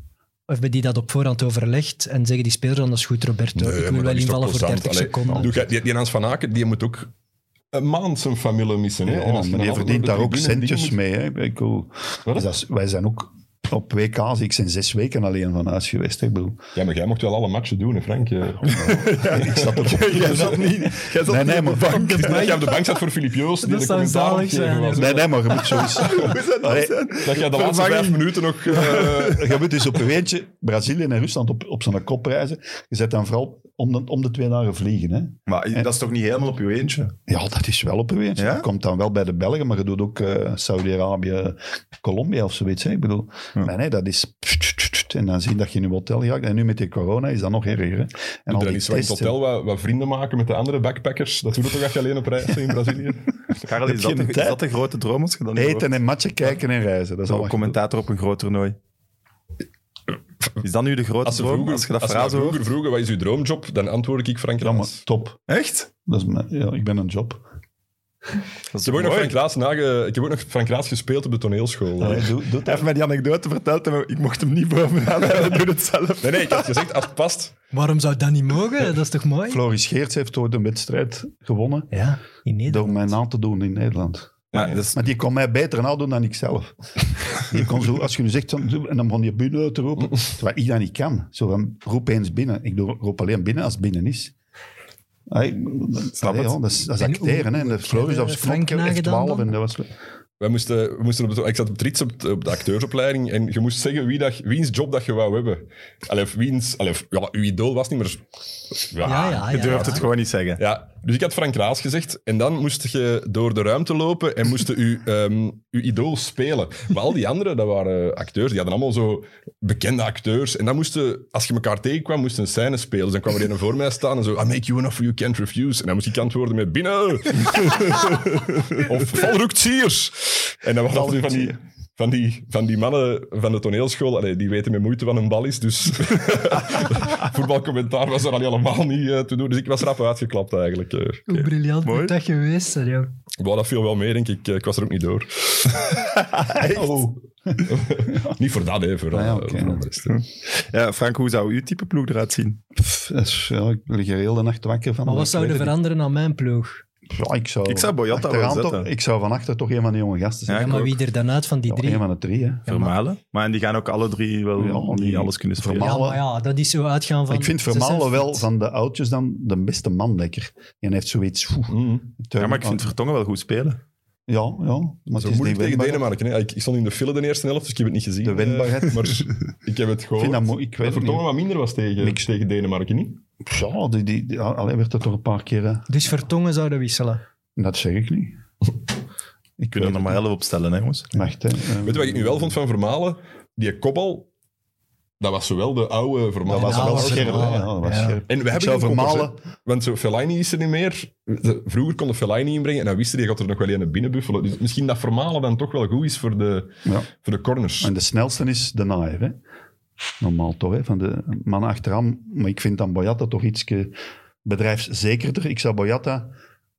B: of hebben die dat op voorhand overlegd en zeggen die spelers anders goed, Roberto,
D: Nee,
B: ik
D: Eh, maar
B: wil
D: dat
B: wel
D: is toch
B: invallen voor 30
D: plezant. Allee,
B: seconden.
D: Doe jij- die, die Hans van Aken, die moet ook een maand zijn familie missen. Hè?
E: ja,
D: En als
E: maar die
D: dan
E: verdient daar
D: altijd
E: ook
D: op de tribune
E: centjes
D: dingen
E: mee. Hè. Ik bedoel,
D: Wat?
E: dus dat is- wij zijn ook op WK, zie ik zijn zes weken alleen van huis geweest. hè. Ik bedoel,
D: moet- Ja, maar jij mocht wel alle matchen doen, hè, Frank. eh.
E: ik zat er
D: jij zat niet, jij zat
E: Nee, nee,
D: niet op de
E: maar-
D: bank. Het is niet Dat jij op de bank zat voor Filip Joost. die
B: Dat
D: de
B: zou
D: commentaar
B: zalig
D: gegeven
B: zijn,
D: was.
E: Nee, nee, maar je moet sowieso... Allee,
D: Dat nou, jij de laatste
E: Vervanging.
D: vijf minuten nog... eh,
E: je moet dus op een weentje Brazilië en Rusland op, op zijn kop reizen. Je zet dan vooral om de, om de twee dagen vliegen. Hè.
A: Maar dat is toch niet helemaal op je eentje?
E: Ja, dat is wel op een weentje.
A: Ja?
E: Dat komt dan wel bij de Belgen, maar je doet ook eh, Saudi-Arabië, Colombia of zoiets. Hè. Ik bedoel, maar nee, dat is... En dan zien dat je in je hotel gaat. En nu met die corona is dat nog erger. Hè. En al
D: Er
E: die
D: is wel in het
E: testen.
D: hotel wat, wat vrienden maken met de andere backpackers. Dat doe je toch als je alleen op reis bent in Brazilië?
A: Karel,
E: Heb
A: is
E: je
A: dat, de,
E: een
A: is
E: tijd?
A: dat de grote droom als je dan
E: Eten en matchen kijken en reizen. Dat is
A: Zo'n
E: al commentaar.
A: commentator op een groot toernooi. Is dat nu de grote
D: Eh, Als ze
A: droom?
D: vroeger,
A: als je dat
D: als ze
A: verhaal
D: mij
A: zo hoort?
D: vroeger vroegen, wat is uw droomjob? Dan antwoord ik Frank
E: Ja, maar
D: Raas.
E: top.
A: Echt?
E: Dat is mijn- ja, ik ben een job.
A: Dat is
D: Ik heb ook nog
A: mooi.
D: Frank Raas nage- ik heb ook nog Frank Raas gespeeld op de toneelschool. hè.
E: Allee, doe, doe
A: Hij
E: dat.
A: heeft mij die anekdote verteld en ik mocht hem niet bovenaan. Hij doet het zelf.
D: Nee, nee, ik had gezegd, als het past,
B: Waarom zou dat niet mogen? Dat is toch mooi?
E: Floris Geerts heeft ooit een wedstrijd gewonnen
B: Ja, in Nederland.
E: door mij na te doen in Nederland.
A: Maar dat is-
E: Maar die kon mij beter na doen dan ik zelf. Die kon zo, als je nu zegt, dan- en dan begon die binnen uit te roepen, terwijl ik dat niet kan. Zo van, roep eens binnen. Ik doe- roep alleen binnen als het binnen is. Hey,
A: Snap
E: allee,
A: het.
E: ja, dat is, dat is
B: En
E: acteren. Hè. En de Floris
B: hebben
E: als
B: Frank
E: knopje heeft
B: nagedaan
E: 12 en
B: dan?
E: dat was...
D: Wij moesten, we moesten op de, ik zat op Trits op de, op de acteursopleiding en je moest zeggen wie dat, wiens job dat je wou hebben. Allee, of wiens, allee, of- ja, uw idool was niet meer...
B: Ja,
D: Ja,
B: ja,
A: je
B: Ah, ja,
A: durft
B: ja.
A: het gewoon niet zeggen.
D: Ja, dus ik had Frank Raas gezegd en dan moest je door de ruimte lopen en moest je uw, ehm, uw idool spelen. Maar al die anderen, dat waren acteurs, die hadden allemaal zo bekende acteurs. En dan moesten, als je elkaar tegenkwam, moesten een scène spelen. Dus dan kwam er een voor mij staan en zo, I make you an offer you can't refuse. En dan moest ik antwoorden met, binnen! of valrukt Siers! En dan waren altijd van die... Van die, van die mannen van de toneelschool, allee, die weten met moeite wat een bal is, dus voetbalcommentaar was er al helemaal niet eh, te doen. Dus ik was rap uitgeklapt eigenlijk. eh.
B: Hoe briljant
A: Mooi.
B: moet dat geweest zijn, joh.
D: Wow, dat viel wel mee, denk ik. Ik was er ook niet door.
E: oh.
D: niet voor dat, hè. Voor,
E: Ah, ja,
D: eh,
E: oké.
D: voor andere stukken.
A: Ja, Frank, hoe zou uw type ploeg eruit zien?
E: Pff, dat is- ja, ik lig er heel de nacht wakker van.
B: Maar wat
E: Ik
B: zou
E: weet
B: er
E: het niet.
B: veranderen aan mijn ploeg?
E: Ja, ik zou,
A: Ik zou Boyata wel
E: achteraan
A: zetten.
E: toch- Ik zou van achter toch een van die jonge gasten zijn.
A: Ja,
B: Ja,
A: ik
B: maar
A: ook.
B: wie er dan uit van die
E: Ja,
B: drie?
E: een van de drie, hè.
A: Vermalen. Maar en die gaan ook alle drie wel
E: Ja,
A: niet
E: die-
A: alles kunnen spelen.
E: Vermaelen.
B: Ja, maar ja, dat is zo uitgaan van...
E: ik vind
B: ze zijn
E: Vermalen wel
B: fit.
E: van de oudjes dan de beste man lekker. En hij heeft zoiets... oeh,
D: Mm.
A: Ja, maar ik vind Vertongen wel goed spelen.
E: Ja, ja. Maar
D: Zo
E: het is
D: moeilijk
E: niet
D: tegen
E: wendbaar.
D: Denemarken. Hè. Ik, ik stond in de file de eerste helft, dus ik heb het niet gezien.
E: De wendbaarheid.
D: eh, maar ik heb het
E: Ik
D: gehoord.
E: vind dat moeilijk. Ik
D: dat
E: weet het
D: Vertongen
E: niet.
D: wat minder was tegen,
E: Niks.
D: tegen Denemarken, niet?
E: Ja, die, die, die, allee, werd er toch een paar keer... hè.
B: Dus Vertongen zouden wisselen.
E: Dat zeg ik niet. Ik
A: Kunnen er nog
E: Ehm,
A: maar elf opstellen, hè, jongens.
E: Wacht, hè.
D: Weet je wat ik nu wel vond van Vermalen? Die kopbal, Dat was zowel de oude
E: Dat
D: Vermaelen
E: was
D: als
E: wel
B: was
E: scherp.
B: Vermaelen,
E: hè. Ja, dat was
B: ja.
E: scherp.
D: En we hebben
E: zou
D: geen koppers,
E: Vermaelen-
D: hè. Want zo, Fellaini is er niet meer. De- Vroeger konden Fellaini inbrengen en dan wisten die gaat er nog wel een binnenbuffelen. Dus misschien dat Vermalen dan toch wel goed is voor de,
E: Ja.
D: voor de corners.
E: En de snelste is de naaier, hè? Normaal toch, hè? Van de mannen achter hem. Maar ik vind dan Boyata toch iets bedrijfszekerder. Ik zou Boyata,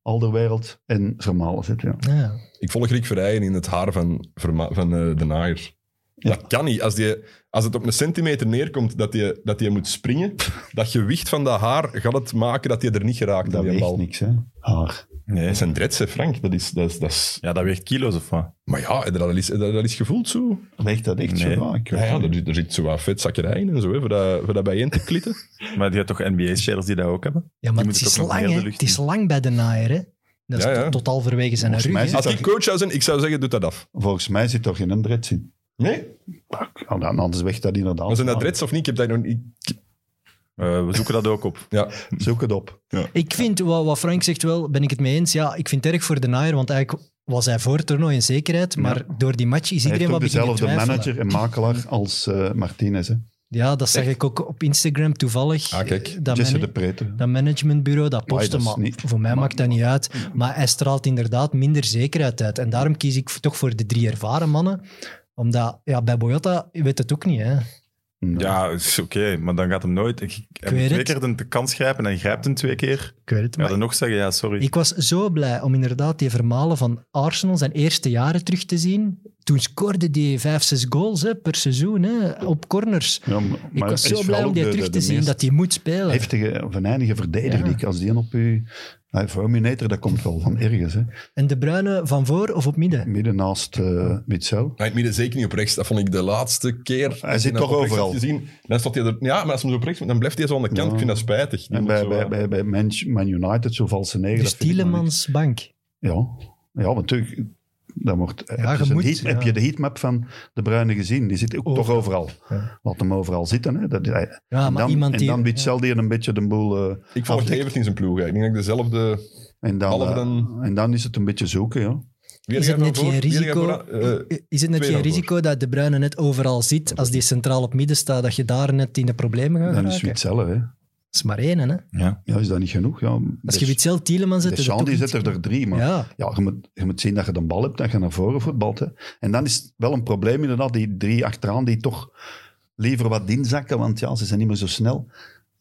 E: Alderwereld en Vermalen zetten, ja.
B: Ja.
D: Ik volg Rick Verheyen in het haar van, Verma- van eh, de naaier. Dat kan niet. Als, die, als het op een centimeter neerkomt dat je dat die moet springen, dat gewicht van dat haar gaat het maken dat je er niet geraakt
E: Dat
D: in die
E: weegt
D: bal.
E: niks, hè? Haar.
A: Nee.
D: Dat zijn dreads, hè, Frank. Dat is, dat is, dat is...
A: Ja, dat weegt kilo's of wat?
D: Maar ja, heb je dat is, dat is gevoeld zo.
E: Weegt dat echt
A: Nee.
E: zo? Ja, ik weet
D: Ja, ja
E: het
D: er,
E: niet.
D: zit- er zit zo wat vetzakkerijen en zo, hè, voor, dat, voor dat bijeen te klitten.
A: Maar die hebt toch NBA-shaders die dat ook hebben?
B: Ja, maar
A: moet
B: het
A: het
B: is
A: ook nog
B: lang,
A: meer de
B: hè.
A: lucht
B: Het is
A: in.
B: lang bij de naaier, hè. Dat is
D: Ja, ja.
B: tot- tot halverwege zijn
E: Volgens
B: rug,
E: mij
B: hè.
E: zit
D: Als ik coach zou zijn, ik zou zeggen, doe dat af.
E: Volgens mij zit toch geen dreads in.
D: Nee? Ah.
E: Ja, dan- anders weegt dat inderdaad.
D: Maar zijn dat dreads of niet? Ik heb dat nog niet...
A: Eh, we zoeken dat ook op.
D: Ja.
E: Zoek het op.
B: Ik vind, wat, wat Frank zegt wel, ben ik het mee eens. Ja, ik vind het erg voor de naaier, want eigenlijk was hij voor het toernooi in zekerheid, maar door die match is
E: Hij heeft
B: iedereen
E: ook
B: wat beginnen
E: dezelfde
B: twijfelen.
E: manager en makelaar als eh, Martinez, hè?
B: Ja, dat zag ik ook op Instagram toevallig. Eh,
D: Ah, kijk.
B: Dat,
E: Jesse
B: mana-
E: de Preter.
B: dat managementbureau, dat
E: Maar
B: postte,
E: dat is
B: maar
E: niet- Mm.
B: voor mij maakt dat niet uit. Maar hij straalt inderdaad minder zekerheid uit. En daarom kies ik toch voor de drie ervaren mannen. Omdat, ja, bij Boyata je weet het ook niet, hè.
A: Ja, is oké, maar dan gaat hem nooit. Ik, ik heb
B: weet
A: twee
B: het.
A: keer de, de kans grijpen en hij grijpt hem twee keer.
B: Ik weet het,
A: Ja,
B: maar
A: dan nog zeggen, ja, sorry.
B: Ik was zo blij om inderdaad die vermalen van Arsenal zijn eerste jaren terug te zien. Toen scoorde die vijf, zes goals hè, per seizoen hè, op corners.
E: Ja, maar-
B: Ik
E: maar
B: was
E: hij is
B: zo blij
E: vooral
B: om die
E: ook de-
B: terug
E: de-
B: te
E: de
B: zien,
E: meest-
B: dat hij moet spelen.
E: heftige, venijnige verdediger.
B: Ja.
E: die- Als die op je... Ja, Verminator, dat komt wel van ergens. Hè.
B: En De Bruyne van voor of op midden?
E: Midden naast eh Witzel.
D: Maar in het midden zeker niet op rechts. Dat vond ik de laatste keer. dat
E: zit
D: ik hem
E: toch
D: op rechts
E: overal.
D: had Gezien, dan stond hij er, ja, maar als hij hem zo op rechts moet, dan blijft hij zo aan de kant.
E: Ja.
D: Ik vind dat spijtig. Die
E: En
D: moet
E: bij,
D: zo,
E: bij,
D: eh,
E: bij, bij Man, Man United, zo valse negen.
B: Dus
E: dat vind ik nog
B: Tielemans bank.
E: niet. Ja, ja want natuurlijk... Dan wordt, heb,
B: je
E: je zijn
B: moet,
E: heat-
B: ja.
E: heb je de heatmap van de Bruine gezien? Die zit ook toch overal.
B: Ja.
E: Laat hem overal zitten. Hè. Dat, hij-
B: Ja,
E: en
B: maar
E: dan,
B: iemand
E: en
B: die...
E: dan Witzel die er een beetje de boel... eh,
D: Ik volg
E: afdekt.
D: Evert in zijn ploeg. hè. Ik denk dat ik dezelfde...
E: en, dan,
D: Behalve
E: eh,
D: dan-
E: en dan is het een beetje zoeken. Ja.
D: Weer
B: Is het
D: jij
B: net
D: van
B: geen
D: voor? Weer jij
B: risico,
D: vooraan? Eh,
B: is het net
D: twee
B: geen
D: daarvoor.
B: risico dat De Bruyne net overal zit, als die centraal op midden staat, dat je daar net in de problemen gaat
E: Dan
B: geraken?
E: is Witzel. Hè.
B: Dat is maar één, hè.
A: ja.
E: Ja, is dat niet genoeg? Ja.
B: Als je Witzel, Tielemans zet, is het
E: Deschamps
B: toch
E: Dus die
B: niet-
E: zet er, er drie, maar...
B: Ja,
E: Ja, je moet, je moet zien dat je de bal hebt, dat je naar voren voetbalt. Hè. En dan is het wel een probleem inderdaad, die drie achteraan die toch liever wat inzakken, want ja, ze zijn niet meer zo snel.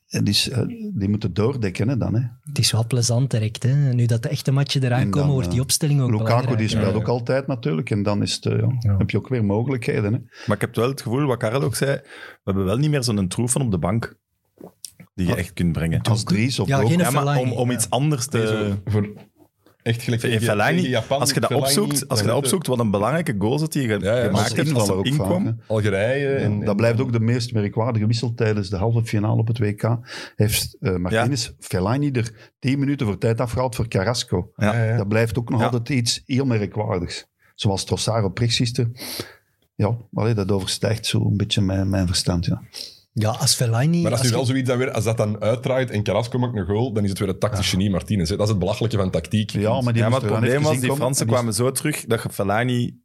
E: En dus, eh, die moeten doordekken hè, dan. Hè.
B: Het is wel plezant direct. Hè? Nu dat de echte matchen eraan
E: En dan,
B: komen, wordt die
E: eh,
B: opstelling ook
E: Lukaku die
B: belangrijk.
E: speelt
D: ja.
E: ook altijd natuurlijk. En dan is het, eh, ja,
B: Ja.
E: heb je ook weer mogelijkheden. Hè.
A: Maar ik heb wel het gevoel, wat Karel ook zei, we hebben wel niet meer zo'n troef van op de bank die je echt kunt brengen.
E: Als Dries of
B: Ja,
E: ook.
B: geen-
E: Ja,
A: Ja, maar
B: Ah. Fellaini,
A: om, om
B: ja.
A: iets anders te...
D: nee, zo voor- Echt gelijk
A: Fe-
D: tegen- tegen
A: Fellaini,
D: Japan,
A: als je dat
D: Fellaini,
A: opzoekt, als je
D: dan
A: dat
D: heb je
A: opzoekt wat een belangrijke goal dat hij ge-
D: Ja, ja,
A: gemaakt
E: als
A: heeft als
E: invaller
A: hij
E: ook vaak.
A: inkwam.
E: hè.
D: Algerije.
E: Ja,
D: en,
E: dat blijft ook de meest merkwaardige wissel tijdens de halve finale op het WK. Heeft eh Martinez Fellaini er 10 minuten voor tijd afgehaald voor Carrasco.
A: Ja.
D: Ja, ja.
E: Dat blijft ook nog
A: Ja.
E: altijd iets heel merkwaardigs. Zoals Trossard op rechtsgisteren. Ja, allee, dat overstijgt zo een beetje mijn, mijn verstand. Ja.
B: Ja, als Fellaini...
D: Maar dat
B: als
D: is nu wel
B: je-
D: zoiets dat weer, als dat dan uitdraait en Carrasco maakt een goal, dan is het weer het tactisch genie Martinez. hè. Dat is het belachelijke van tactiek.
E: Ja, maar, die
A: Ja, maar
E: moest
A: het
E: er dan
A: probleem
E: even
A: was,
E: in
A: die
E: komen.
A: Fransen
E: En die-
A: kwamen zo terug dat je Fellaini...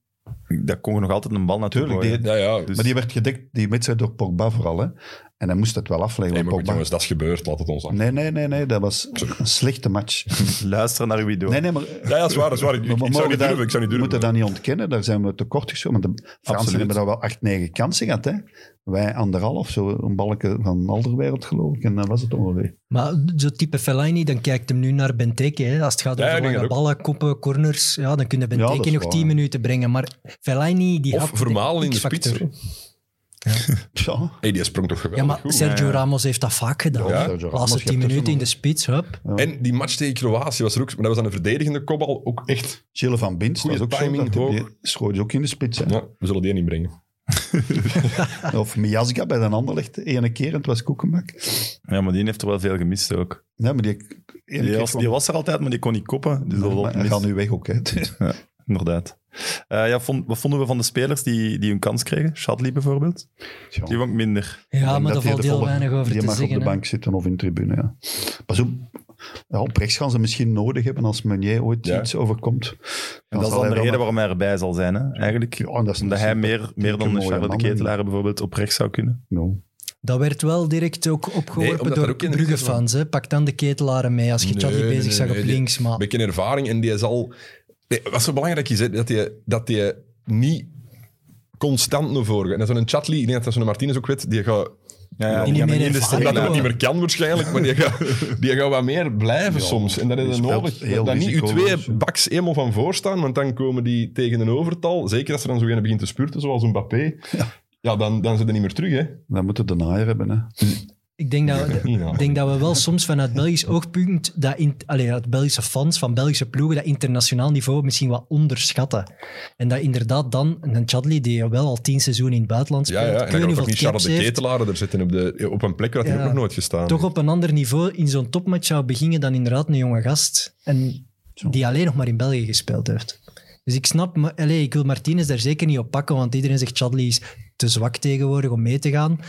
A: Dat kon je nog altijd een bal natuurlijk.
E: Tuurlijk, die-
D: Ja, ja.
A: Dus-
E: Maar die werd gedekt, die wedstrijd, door Pogba vooral. Hè. En hij moest het wel afleggen.
D: Nee,
E: want
D: maar goed,
E: Pogba-
D: jongens, dat is gebeurd. Laat het ons af.
E: nee, nee, nee, nee, dat was een slechte match.
A: Luisteren naar Guido.
E: Nee, nee, maar...
D: Ja, ja, dat is waar. Dat is waar. Ik, ik-
E: maar
D: ik
E: we
D: zou
E: mogen
D: niet
E: dat-
D: durven. Ik zou niet
E: We moeten
D: durven.
E: dat niet ontkennen, daar zijn we tekort geschoten. Want de Fransen
A: Absoluut.
E: hebben daar wel acht, negen kansen gehad. Hè. Wij anderhalf, zo een balken van Alderwereld geloof ik. En dan was het ongeveer.
B: Maar zo'n type Fellaini, dan kijkt hem nu naar Benteke. Hè. Als het gaat
D: Ja,
B: over
D: ik denk
B: lange
D: dat ook.
B: ballen, koppen, corners, ja, dan kun je
E: Ja, dat
B: Benteke
E: is
B: nog
E: waar,
B: tien
E: ja.
B: minuten brengen. Maar Fellaini... Die
D: Of
B: had
D: vermalen in de
B: X-factor.
D: spits. hè.
E: Tja,
D: Hey, die sprong toch geweldig
B: Ja, maar
D: goed.
B: Sergio
A: Ja, ja.
B: Ramos heeft dat vaak gedaan.
D: Ja,
B: Ja,
E: Sergio Ramos,
B: Laatste
E: je
B: tien
E: hebt
B: minuten
E: er
B: in de
E: zo'n-
B: spits, hup.
D: En die match tegen Kroatië was er ook... Maar dat was dan een verdedigende kopbal ook echt...
E: Gilles van Bins,
D: Goeie
E: dat is ook
D: timing,
E: zo. dat-
D: hoog.
E: Die schoot je ook in de spits. hè.
D: Ja, we zullen die inbrengen.
E: Of Miasga bij een ander ligt ene keer en het was koekenbak.
A: Ja, maar die heeft er wel veel gemist ook.
E: Nee, maar die, ene
A: Die
E: keer
A: was,
E: kwam-
A: die was er altijd, maar die kon niet koppen. Dus dat was
E: maar hij
A: mis.
E: gaat nu weg ook. Hè.
A: Inderdaad. Eh, ja, vond- wat vonden we van de spelers die, die hun kans kregen? Shadley bijvoorbeeld.
E: Tja.
A: Die vond ik minder.
B: Ja,
E: Ik
B: maar
E: denk dat
B: daar
E: die
B: valt
E: de
B: heel
E: volgende-
B: weinig over
E: die
B: te
E: mag
B: zeggen.
E: op de
B: hè.
E: bank zitten of in tribune, ja. Pas op, ja, op rechts gaan ze misschien nodig hebben als Meunier ooit
D: Ja.
E: iets overkomt.
A: En dat is dan
E: zal hij
A: de
E: wel
A: reden
E: nog-
A: waarom hij erbij zal zijn, hè? eigenlijk.
E: Ja, en dat is
A: Omdat
E: een
A: hij meer, meer dan
E: mooie
A: Charles de
E: man.
A: Ketelaar bijvoorbeeld oprecht zou kunnen.
E: No.
B: Dat werd wel direct ook
D: Nee,
B: opgeworpen
D: omdat daar
B: door
D: ook kinderen
B: Brugge-fans. hè. Pak dan de ketelaren mee als je Charlie
D: Nee, nee,
B: bezig
D: nee,
B: zag
D: nee,
B: op
D: die-
B: links. Maar
D: Een beetje ervaring en die zal... Nee, wat zo belangrijk is, hè, dat hij dat die niet constant naar voren gaat. En dat zo'n Chatley, ik denk dat dat zo'n Martinez ook weet, die gaat...
A: Ja, ja,
B: Die
A: die
B: niet
A: gaan
B: meer
A: in de
B: ervaren
A: steek
B: worden.
D: Omdat hij
A: laten.
D: het niet meer kan waarschijnlijk, maar die gaat, die gaat wat meer blijven
E: Ja,
D: soms. En dat
E: die
D: is
E: speelt
D: nodig.
E: heel
D: Dat, dat niet je
E: risicoloos,
D: twee
E: ja.
D: baks eenmaal van voor staan, want dan komen die tegen een overtal. Zeker als er dan zo een begint te spurten, zoals een Mbappé. Ja, dan, dan zit er niet meer terug, hè.
E: Dan moeten we de naaier hebben. Hè.
B: ik denk dat, we,
D: Ja.
B: ik denk dat we wel soms vanuit Belgisch oogpunt, dat in, allee, dat Belgische fans van Belgische ploegen, dat internationaal niveau misschien wat onderschatten. En dat inderdaad dan een Chadli, die wel al tien seizoenen in het buitenland
D: Ja,
B: speelt,
D: ja.
B: ik weet
D: En dan
B: niet
D: gaat toch
B: hoeveel
D: niet Charles
B: caps
D: de
B: heeft,
D: Ketelaar er zitten op, de, op een plek waar hij
B: Ja.
D: ook nog nooit gestaan
B: toch op een ander niveau in zo'n topmatch zou beginnen dan inderdaad een jonge gast. En
E: Zo.
B: die alleen nog maar in België gespeeld heeft. Dus ik snap, maar- allee, ik wil Martinez daar zeker niet op pakken, want iedereen zegt Chadli is te zwak tegenwoordig om mee te gaan.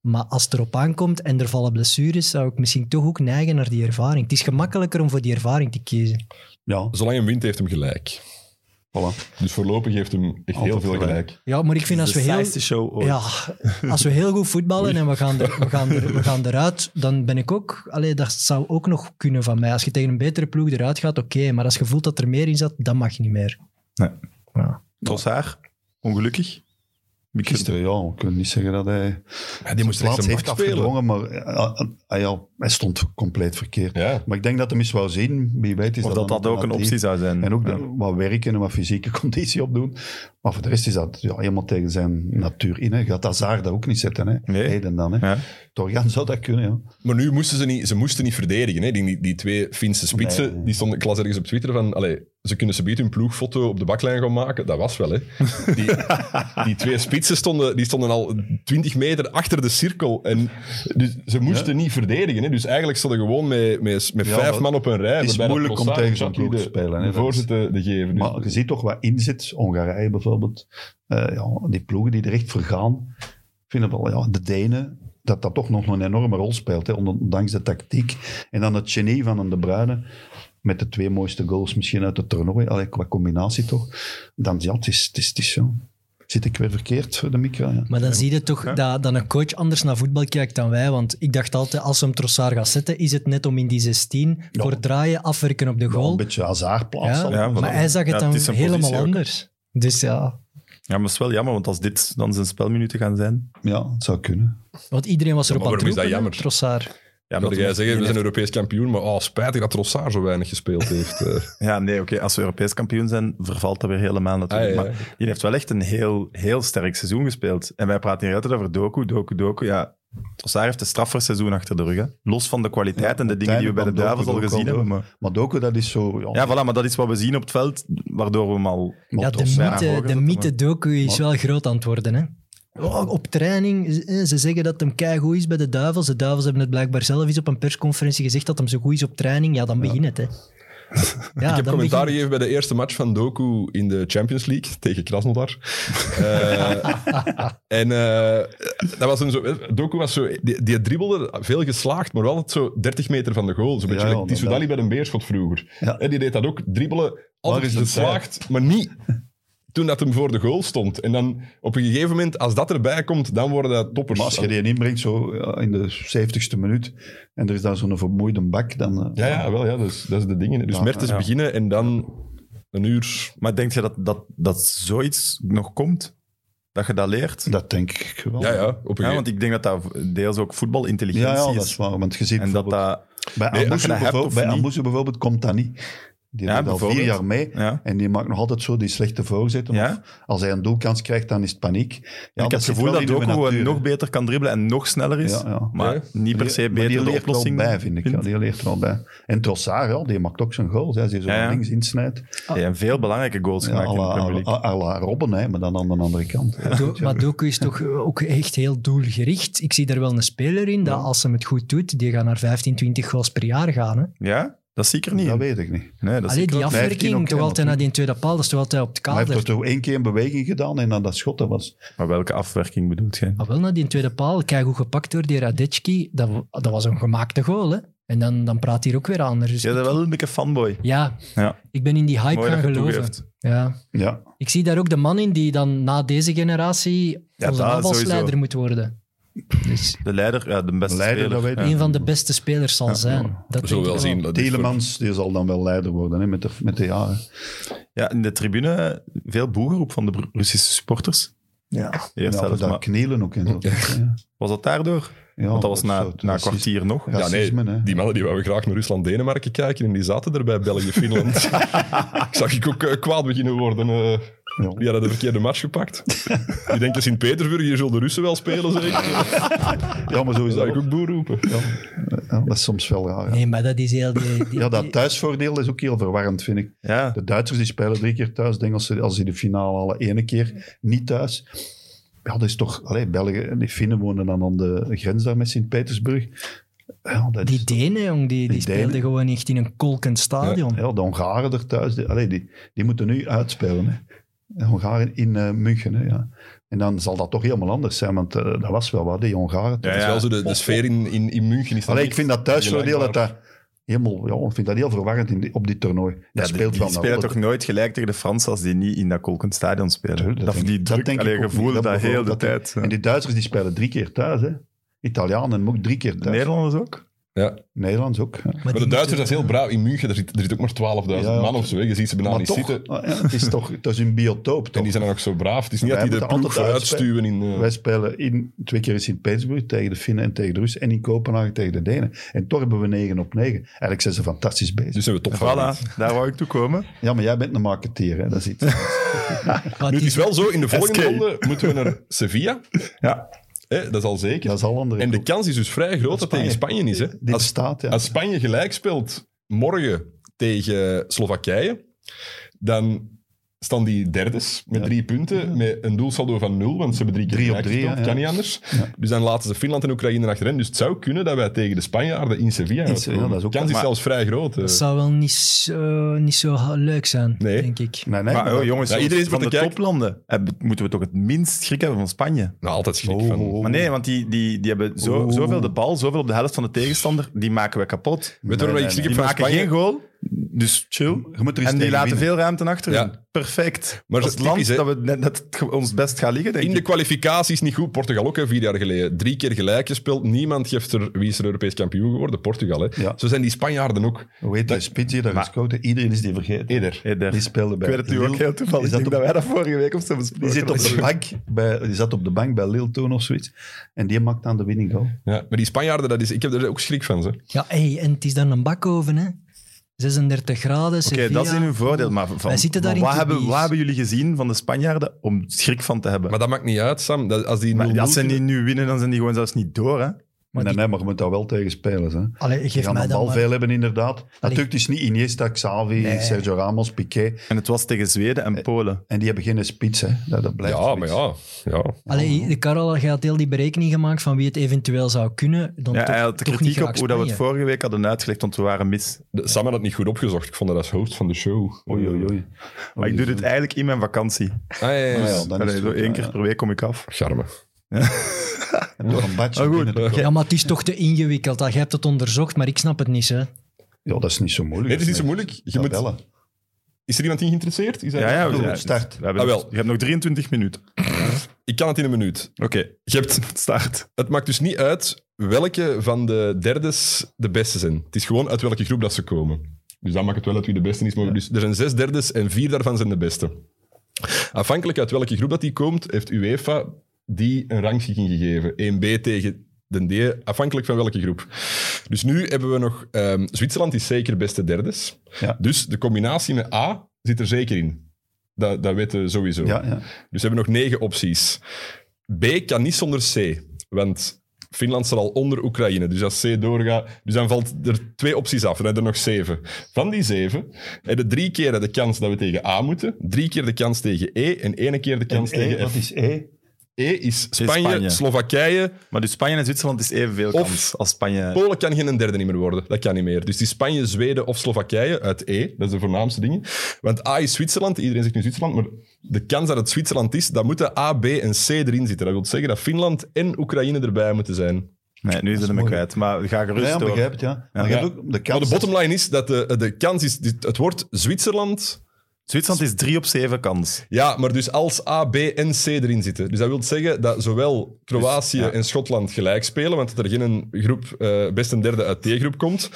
B: Maar als het erop aankomt en er vallen blessures, zou ik misschien toch ook neigen naar die ervaring. Het is gemakkelijker om voor die ervaring te kiezen.
E: Ja,
D: Zolang hij wint, heeft hem gelijk.
E: voilà.
D: Dus voorlopig heeft hem echt
E: Altijd
D: heel veel
E: gelijk.
D: gelijk.
B: Ja, maar ik vind
A: Dat
B: als
A: is
B: we
A: de
B: heel...
A: saaiste show ooit.
B: Ja, als we heel goed voetballen en we gaan, er, we, gaan er, we gaan eruit, dan ben ik ook... Allee, dat zou ook nog kunnen van mij. Als je tegen een betere ploeg eruit gaat, oké. maar als je voelt dat er meer in zat, dan mag je niet meer.
A: Trossard, ongelukkig.
E: Gisteren, ja. Ik kan niet zeggen dat hij
D: Ja, die moest rechts
E: plaats
D: een
E: heeft
D: bak spelen.
E: afgedwongen, maar ja, hij, ja, hij stond compleet verkeerd.
D: Ja.
E: Maar ik denk dat hij eens wou zien, wie weet is
A: Of dat
E: dan
A: dat ook een optie zou zijn.
E: En ook
A: Ja.
E: de- wat werken en wat fysieke conditie opdoen. Maar voor de rest is dat ja, helemaal tegen zijn natuur in. Hè. Gaat Hazard dat ook niet zetten. Hè.
A: Nee.
E: Heden dan. Hè.
A: Ja.
E: Torgan zou dat kunnen. Ja.
D: Maar nu moesten ze niet, ze moesten niet verdedigen. Hè. Die, die, die twee Finse spitsen,
E: Nee.
D: die stonden, ik las ergens op Twitter van, allee, ze kunnen ze beter hun ploegfoto op de baklijn gaan maken. Dat was wel, hè. Die, die twee spitsen stonden, die stonden al 20 meter achter de cirkel. En dus ze moesten niet verdedigen. Hè. Dus eigenlijk stonden gewoon met, met, met
E: Ja,
D: vijf
E: dat
D: man op een rij.
E: is
D: waarbij dat
E: moeilijk om
D: Trossard
E: tegen zo'n ploeg
D: de-
E: te spelen,
D: De
E: hè. Dat is-
D: voorzitter te geven. Dus
E: Maar je ziet toch wat inzet. Hongarije bijvoorbeeld. Eh, ja, die ploegen die er echt voor gaan. Ik vind het wel, ja, de Denen, dat dat toch nog een enorme rol speelt. Hè, ondanks de tactiek. En dan het genie van een De Bruyne. Met de twee mooiste goals misschien uit het toernooi. Allee, qua combinatie toch. Dan ja, het is, het is, het is zo. Zit ik weer verkeerd voor de micro? Ja.
B: Maar dan zie je toch dat, dat een coach anders naar voetbal kijkt dan wij. Want ik dacht altijd, als ze hem Trossard gaat zetten, is het net om in die 16
E: Ja.
B: voor draaien, afwerken op de
E: Ja, een
B: goal.
E: beetje hazard plaatsen.
B: Ja,
A: Ja,
B: maar hij zag
A: Ja,
B: het dan
A: het is een
B: helemaal
A: positie ook.
B: anders. Dus ja,
A: Ja, maar het is wel jammer, want als dit dan zijn spelminuten gaan zijn...
E: Ja, het zou kunnen.
B: want iedereen was
D: Ja,
B: erop
D: maar
B: aan het
D: waarom is
B: roepen, hè,
D: dat jammer?
B: Trossard.
A: Ja,
D: dat jij
A: toen-
D: zeggen, we zijn Europees kampioen, maar oh, spijtig dat Trossard zo weinig gespeeld heeft. eh.
A: Ja, nee, oké. Als we Europees kampioen zijn, vervalt dat weer helemaal natuurlijk.
D: Ah, ja, ja.
A: Maar die heeft wel echt een heel, heel sterk seizoen gespeeld. En wij praten hier altijd over Doku, Doku, Doku. Ja, Trossard heeft een straffer seizoen achter de rug. hè. Los van de kwaliteit
E: Ja,
A: en de
E: op
A: dingen die we bij
E: het
A: de
E: einde kwam
A: Duivels al
E: Doku ook
A: gezien
E: al
A: hebben. Maar...
E: Maar Doku, dat is zo...
A: Ja, voilà, maar dat is wat we zien op het veld, waardoor we hem al...
E: maar
B: Ja,
E: toch
B: de
E: zijn-
A: Trossard
B: mythe,
A: hoger
B: de
A: zetten,
B: mythe docu is
E: Maar-
B: wel groot aan het worden, hè. Oh, op training, eh, ze zeggen dat hem keigoed is bij de duivels. De duivels hebben het blijkbaar zelf eens op een persconferentie gezegd dat hem zo goed is op training. Ja, dan begint het, hè. Ja,
D: ik heb
B: dan
D: commentaar
B: begint-
D: gegeven bij de eerste match van Doku in de Champions League tegen Krasnodar. Eh, en eh, dat was een zo, Doku was zo, die, die dribbelde veel geslaagd, maar wel altijd zo 30 meter van de goal. Zo'n beetje
E: Ja, ja,
D: like Tissou Dali bij een beerschot vroeger.
E: Ja.
D: En die deed dat ook, dribbelen, altijd
E: is de
D: geslaagd, maar niet toen dat hem voor de goal stond. En dan op een gegeven moment, als dat erbij komt, dan worden dat toppers.
E: Maar als je die inbrengt, zo ja, in de 70ste minuut, en er is daar zo'n vermoeide bak, dan... eh,
D: Ja, ja, wel, ja, dus, dat is de dingen. Dus
E: Ja,
D: Mertens
A: ja.
D: beginnen en dan een uur...
A: Maar denk je dat, dat, dat zoiets nog komt? Dat je dat leert?
E: Dat denk ik wel.
D: Ja, ja, op een
A: Ja,
D: gegeven
A: want ik denk dat dat deels ook voetbalintelligentie
E: Ja, ja, dat is
A: is.
E: waar. Want je ziet
A: En dat
E: bijvoorbeeld-
A: dat... Nee,
E: bij
A: dat je
E: Amoesu
A: dat hebt
E: bijvoorbeeld,
A: of
E: bij
A: niet.
E: Amoesu bijvoorbeeld komt dat niet. Die
A: Ja,
E: doet al vier
A: bijvoorbeeld.
E: jaar mee.
A: Ja.
E: En die maakt nog altijd zo die slechte voorzetten.
A: Ja.
E: Of als hij een doelkans krijgt, dan is het paniek. Ja,
A: ik heb het
E: zit
A: gevoel
E: wel
A: dat
E: in uw
A: Doku gewoon
E: natuur, hè.
A: nog beter kan dribbelen en nog sneller is.
E: Ja, ja.
A: Maar
D: Ja.
A: niet per se
E: Maar die
A: beter de
E: leert
A: oplossing.
E: wel bij, vind ik. Ja, die leert wel bij. En Trossard, ja, die maakt ook zijn goals. hè. Als hij zo
A: Ja, ja.
E: links insnijdt.
A: Ja, en veel belangrijke goals
E: Ja,
A: gemaakt
E: à
A: in de
E: la-
A: Premier
E: à
A: League.
E: la- à la Robben, hè, maar dan aan de andere kant.
B: Do- maar Doku is toch ook echt heel doelgericht. Ik zie daar wel een speler in, dat als ze hem het goed doet, die gaan naar 15, 20 goals per jaar gaan. Hè.
A: Ja? Dat zie ik er niet
E: Dat
A: in.
E: weet ik niet.
A: Nee, dat zie
B: Allee,
A: ik er
B: die
A: ook niet.
E: 15
B: afwerking,
E: ook,
B: toch
E: hè,
B: altijd naar die tweede paal, dat is toch altijd op het
E: Maar hij heeft
B: kader.
E: er toch één keer een beweging gedaan en aan dat schot, dat was...
A: Maar welke afwerking bedoelt jij?
B: Ah, wel, na die tweede paal, kijk hoe gepakt door die Radetski. Dat, dat was een gemaakte goal, hè. En dan, dan praat hij hier ook weer anders. Dus
A: Jij
B: ik-
A: bent wel een beetje fanboy.
B: ja,
A: Ja.
B: ik ben in die hype
A: Mooi dat je
B: gaan
A: het
B: geloven.
A: toegeeft.
B: Ja.
E: Ja,
B: Ik zie daar ook de man in die dan na deze generatie
A: Ja,
B: onze
A: dat
B: aanvalsleider
A: sowieso.
B: moet worden. Dus
A: De leider, ja, de beste
E: Leider,
A: speler.
E: dat weet ik.
B: een van de beste spelers zal zijn. Dat
D: We zullen
B: denk
D: wel
B: ik
D: zien. dat dit
E: Telemans, die zal dan wel leider worden hè, met, de, met de jaren.
A: Ja, in de tribune eh, veel boegeroep van de Bru- Russische supporters.
E: Ja,
A: Eerst
E: ja,
A: zelfs,
E: voor dat
A: maar-
E: knielen ook. En zo. Ja.
A: Was dat daardoor? Want dat was
E: een
A: na,
E: soort
A: na een
E: racisme.
A: kwartier nog.
E: Ja.
D: voor- Ja,
E: racisme, hè.
D: nee, die mannen die wouden graag naar Rusland-Denemarken kijken en die zaten er bij België-Finland. ik zag ik ook eh, kwaad beginnen worden. eh.
E: Ja.
D: die hadden de verkeerde match gepakt. die denken Sint-Petersburg, hier zullen de Russen wel spelen zeker.
E: ja, maar zo
D: zou
E: is dat
D: ik
E: ook.
D: ook boer roepen.
E: Ja. Ja, dat is soms wel raar. Ja.
B: Nee, maar dat is heel... Die, die-
E: Ja, dat
B: die-
E: thuisvoordeel is ook heel verwarrend, vind ik.
A: Ja.
E: De Duitsers die spelen drie keer thuis. De Engelsen, als die de finale halen, ene keer niet thuis. Ja, dat is toch... Allee, België en die Finnen wonen dan aan de grens daar met Sint-Petersburg. Ja, dat
B: die
E: is,
B: Denen, jong, die, die,
E: Die
B: speelden
E: Denen.
B: gewoon echt in een kolkend stadion.
E: ja, de Hongaren er thuis, die, allee, die, die moeten nu uitspelen. Hè. De Hongaren in eh, München, hè, ja. En dan zal dat toch helemaal anders zijn, want eh, dat was wel wat, die Hongaren.
A: Ja,
D: Dat is
A: ja.
D: wel zo de, de sfeer in, in, in München. Is dan
E: Allee,
D: echt
E: ik vind dat thuisvoordeel dat
D: gelijkbaar.
E: dat helemaal... Ja, ik vind dat heel verwarrend in die- op dit toernooi. Dat
A: Ja, die-
E: speelt
A: die
E: wel
A: spelen toch nooit gelijk tegen de Fransen als die niet in dat kolkend stadion spelen. Dat, die druk, dat
E: ik ook
A: gevoel
E: niet.
A: dat, heel
E: bijvoorbeeld
A: de
E: dat die-
A: tijd. eh. ja.
E: En die Duitsers die spelen drie keer thuis. Hè. Italianen ook drie keer
A: De
E: thuis.
A: Nederlanders ook?
D: Ja.
E: Nederlands ook. ja.
B: Maar
D: Maar
B: die
D: de Duitsers,
B: moeten-
D: dat is heel braaf. In München, er zit, er zit ook maar 12.000
E: Ja, ja.
D: man of zo. hè. Je ziet ze bijna
E: Maar
D: niet
E: toch,
D: zitten.
E: ah, ja, het is toch het is een biotoop.
D: En
E: Toch?
D: die zijn dan ook zo braaf. Het is niet
E: Wij
D: dat die de
E: moeten
D: ploeg
E: altijd
D: vooruit stuwen in... eh,
E: Wij spelen in, twee keer in Sint-Petersburg tegen de Finnen en tegen de Russen. En in Kopenhagen tegen de Denen. En toch hebben we 9 op 9. Eigenlijk zijn ze fantastisch bezig.
D: dus zijn we topfavoriet.
A: Voilà, daar wou ik toe komen.
E: ja, maar jij bent een marketeer. Hè? Dat is iets.
B: Maar
D: Nu,
B: die-
D: het is wel zo, in de volgende
A: SK.
D: ronde moeten we naar Sevilla.
A: Ja.
D: Hè, dat is al zeker.
E: dat is al andere.
D: en de
E: ploeg.
D: kans is dus vrij groot dat tegen Spanje is. Hè.
E: Dit
D: Als,
E: staat, ja.
D: als Spanje gelijk speelt morgen tegen Slowakije, dan staan die derdes met
E: Ja.
D: drie punten, met een doelsaldo van nul, want ze hebben drie keer
E: Drie op
D: gelijk
E: drie,
D: gespeeld,
E: ja, ja.
D: kan niet anders. Dus dan laten ze Finland en Oekraïne achterin. Dus het zou kunnen dat wij tegen de Spanjaarden in Sevilla
E: Sevilla,
D: uitkomen.
E: dat is ook-
D: De kans is
A: maar-
D: zelfs vrij groot. eh.
B: dat zou wel niet zo, niet zo leuk zijn,
D: Nee.
B: denk ik.
E: Nee, nee,
A: Maar
E: maar-
A: oh, jongens,
D: Ja, iedereen
A: iedereen
D: is
A: van de
D: met de kijk.
A: toplanden hebben- moeten we toch het minst schrik hebben van Spanje.
D: Nou, altijd schrik
E: Oh,
D: van...
E: oh, oh.
A: Maar nee, want die, die, die hebben zo,
E: Oeh.
A: zoveel de bal, zoveel op de helft van de tegenstander, die maken we kapot.
D: Weet je waarom
E: nee,
D: ik schrik
A: Die
D: heb van
A: maken
D: Spanje?
A: geen goal, dus chill.
E: Je moet er eens
A: En die
E: tegen
A: laten
E: winnen.
A: veel ruimte achter.
D: Ja.
A: Perfect.
D: Maar
A: Maar
D: dat
A: als
D: is
A: het land
D: typisch,
A: dat, we,
D: hè?
A: net- dat het ge- ons best gaat liggen, denk
D: In de
A: ik.
D: kwalificaties niet goed. Portugal ook hè, vier jaar geleden. Drie keer gelijk gespeeld. Niemand geeft er wie is er Europees kampioen geworden. Portugal. Hè.
E: Ja.
D: Zo zijn die Spanjaarden ook.
E: Hoe heet die spits die daar
A: Maar-
E: gescoord heeft? Iedereen is die vergeten.
D: Eder.
A: Hey, daar.
E: Die speelde
A: ik
E: bij
A: weet het nu
E: Lille.
A: ook heel toevallig.
E: Is
A: Ik
E: dat
A: denk dat wij dat vorige week of zo
E: Die
A: besproken
E: zit op de
A: hebben.
E: bank, bij, die zat op de bank bij Lille toen of zoiets. En die maakt aan de winning goal.
D: Ja. Maar die Spanjaarden, dat is, ik heb er ook schrik van. Ze.
B: Ja, hey, en het is dan een bakoven, hè. 36 graden,
A: Oké, dat is in hun voordeel. Maar, van,
B: Wij zitten daar
A: maar
B: in
A: wat, hebben,
B: Tunis.
A: wat hebben jullie gezien van de Spanjaarden om schrik van te hebben?
D: Maar dat maakt niet uit, Sam. Dat, als die
A: Maar
D: 0-0
A: als ze niet nu winnen, dan zijn die gewoon zelfs niet door. Hè?
E: Maar
B: Maar
E: nee,
B: die-
E: nee, maar je moet daar wel tegen spelers. Hè.
B: Allee,
E: Die
B: geef
E: gaan
B: mij
E: een
B: dan
E: bal
B: maar...
E: veel hebben, inderdaad. Natuurlijk, het is niet Iniesta, Xavi, Sergio Ramos, Piqué.
A: En het was tegen Zweden
E: Eh,
A: en Polen.
E: En die hebben geen spits, hè. Dat, dat blijft
D: Ja,
E: spits.
D: maar ja. ja.
B: Allee, de Karel had heel die berekening gemaakt van wie het eventueel zou kunnen. Dan
A: Ja,
B: toch,
A: hij had de
B: toch niet
A: kritiek op
B: graag
A: hoe dat we het
B: Spanje.
A: vorige week hadden uitgelegd, want we waren mis.
D: De- Sam had dat niet goed opgezocht. Ik vond dat als hoofd van de show.
E: Oei, oei, oei.
A: Maar ik doe dit eigenlijk in mijn vakantie.
D: Ah, ja, ja, ja.
E: Ah, ja, Oh, dan is
A: Allee,
E: het
A: zo
E: goed,
A: één
E: ja,
A: keer
E: ja.
A: per week kom ik af.
D: Charme. Eh,
E: En nog een badge
A: Ah, goed.
E: binnen.
B: Ja, maar het is toch te ingewikkeld. Jij hebt het onderzocht, maar ik snap het niet, hè.
E: Ja, dat is niet zo moeilijk.
D: Nee, het is niet zo moeilijk. Je
E: Je moet
D: moet-
E: bellen.
D: Is er iemand in geïnteresseerd? Is hij-
A: Ja, ja,
E: Doe,
A: we
E: op start.
A: we hebben
D: Ah, wel.
A: nog- je hebt nog 23 minuten.
D: Ik kan het in een minuut.
A: Oké,
D: Je hebt,
A: start.
D: het maakt dus niet uit welke van de derdes de beste zijn. Het is gewoon uit welke groep dat ze komen. Dus dan maakt het wel uit wie de beste is. Maar dus, er zijn zes derdes en vier daarvan zijn de beste. Afhankelijk uit welke groep dat die komt, heeft UEFA die een rangschikking gegeven. 1B tegen de D, afhankelijk van welke groep. Dus nu hebben we nog... ehm, Zwitserland is zeker beste derdes.
E: Ja.
D: Dus de combinatie met A zit er zeker in. Dat, dat weten we sowieso.
E: Ja, ja.
D: Dus we hebben nog negen opties. B kan niet zonder C, want Finland staat al onder Oekraïne. Dus als C doorgaat, dus dan valt er twee opties af. Dan hebben we er nog zeven. Van die zeven hebben we drie keer de kans dat we tegen A moeten, drie keer de kans tegen E en één keer de
E: En
D: kans
E: E,
D: tegen
E: wat
D: F.
E: is E?
D: E is Spanje,
A: Spanje.
D: Slowakije.
A: Maar dus Spanje en Zwitserland is evenveel
D: Of-
A: kans als Spanje.
D: Polen kan geen derde niet meer worden. Dat kan niet meer. Dus die Spanje, Zweden of Slowakije uit E, dat is de voornaamste dingen. Want A is Zwitserland, iedereen zegt nu Zwitserland, maar de kans dat het Zwitserland is, dan moeten A, B en C erin zitten. Dat wil zeggen dat Finland en Oekraïne erbij moeten zijn.
A: Nee, nu is het hem kwijt. Maar ga gerust
E: Ja, ja,
A: door.
E: begrijp het, ja. Maar je
D: Ja.
E: hebt ook de
D: Maar
E: kans...
D: de bottomline is dat de, de kans is, het wordt Zwitserland,
A: Zwitserland is 3 op 7 kans.
D: Ja, maar dus als A, B en C erin zitten. Dus dat wil zeggen dat zowel Kroatië
A: ja.
D: en Schotland gelijk spelen, want dat er geen groep, eh, best een derde uit D-groep komt.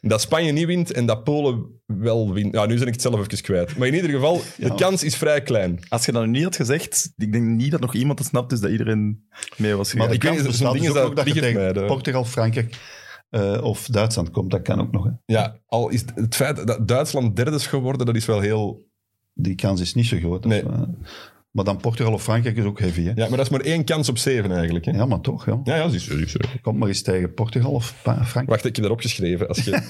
D: Dat Spanje niet wint en dat Polen wel wint. Ja, nu ben ik het zelf even kwijt. Maar in ieder geval, de kans is vrij klein.
A: Als je dat nu niet had gezegd, ik denk niet dat nog iemand het snapt, dus dat iedereen mee was gegaan.
E: Maar ik
D: weet
E: weet
D: niet,
E: niet,
D: zo'n
E: zo'n
D: ding
E: is
D: is
E: dat,
D: dat
E: dus ook dat je
D: vliegert
E: tegen
D: mij, hè.
E: Portugal, Frankrijk eh, of Duitsland komt. Dat kan ook nog. Hè.
D: Ja, al is het, het feit dat Duitsland derde is geworden, dat is wel heel...
E: Die kans is niet zo groot.
D: Nee.
E: Dus, eh, maar dan Portugal of Frankrijk is ook heavy. Hè. Ja.
D: Ja, maar dat is maar één kans op zeven eigenlijk. Hè? Ja,
E: maar toch. Ja.
D: ja, dat is, dat is-
E: Kom maar eens tegen Portugal of Pa- Frankrijk.
D: Wacht, ik heb daarop geschreven. Als je...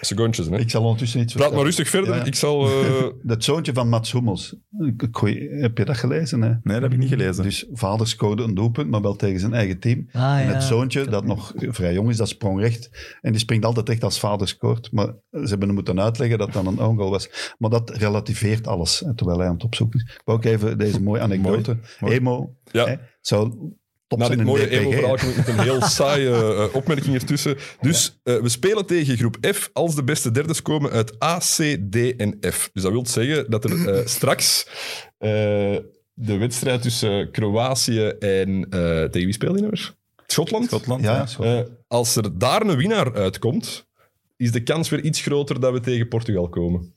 D: Secondjes, hè.
E: Ik zal ondertussen iets
D: Dus Praat maar
E: vertellen.
D: rustig verder.
E: Ja, ja.
D: Ik zal... eh,
E: Dat zoontje van Mats Hummels. Ik- ik gooi- heb je dat gelezen? Hè?
A: Nee, dat heb ik niet gelezen.
E: Dus vader scoorde een doelpunt, maar wel tegen zijn eigen team.
B: Ah,
E: en
B: ja.
E: het zoontje, dat nog vrij jong is, dat sprong recht. En die springt altijd recht als vader scoort. Maar ze hebben hem moeten uitleggen dat dat een own goal was. Maar dat relativeert alles, hè, terwijl hij aan het opzoeken is. Ik wou ook even deze mooie anekdote.
A: mooi.
E: Emo,
D: Ja.
E: hè, zou top
D: Na
E: zijn
D: dit
E: in E
D: mooie
E: DPG.
D: emo-verhaal kom ik met een heel saaie eh, opmerking ertussen. Dus eh, we spelen tegen groep F als de beste derdes komen uit A, C, D en F. Dus dat wil zeggen dat er eh, straks eh, de wedstrijd tussen Kroatië en... eh tegen wie speel je nou weer? Schotland?
A: Schotland,
E: Ja,
A: ja.
E: ja, zo.
D: Eh, als er daar een winnaar uitkomt, is de kans weer iets groter dat we tegen Portugal komen.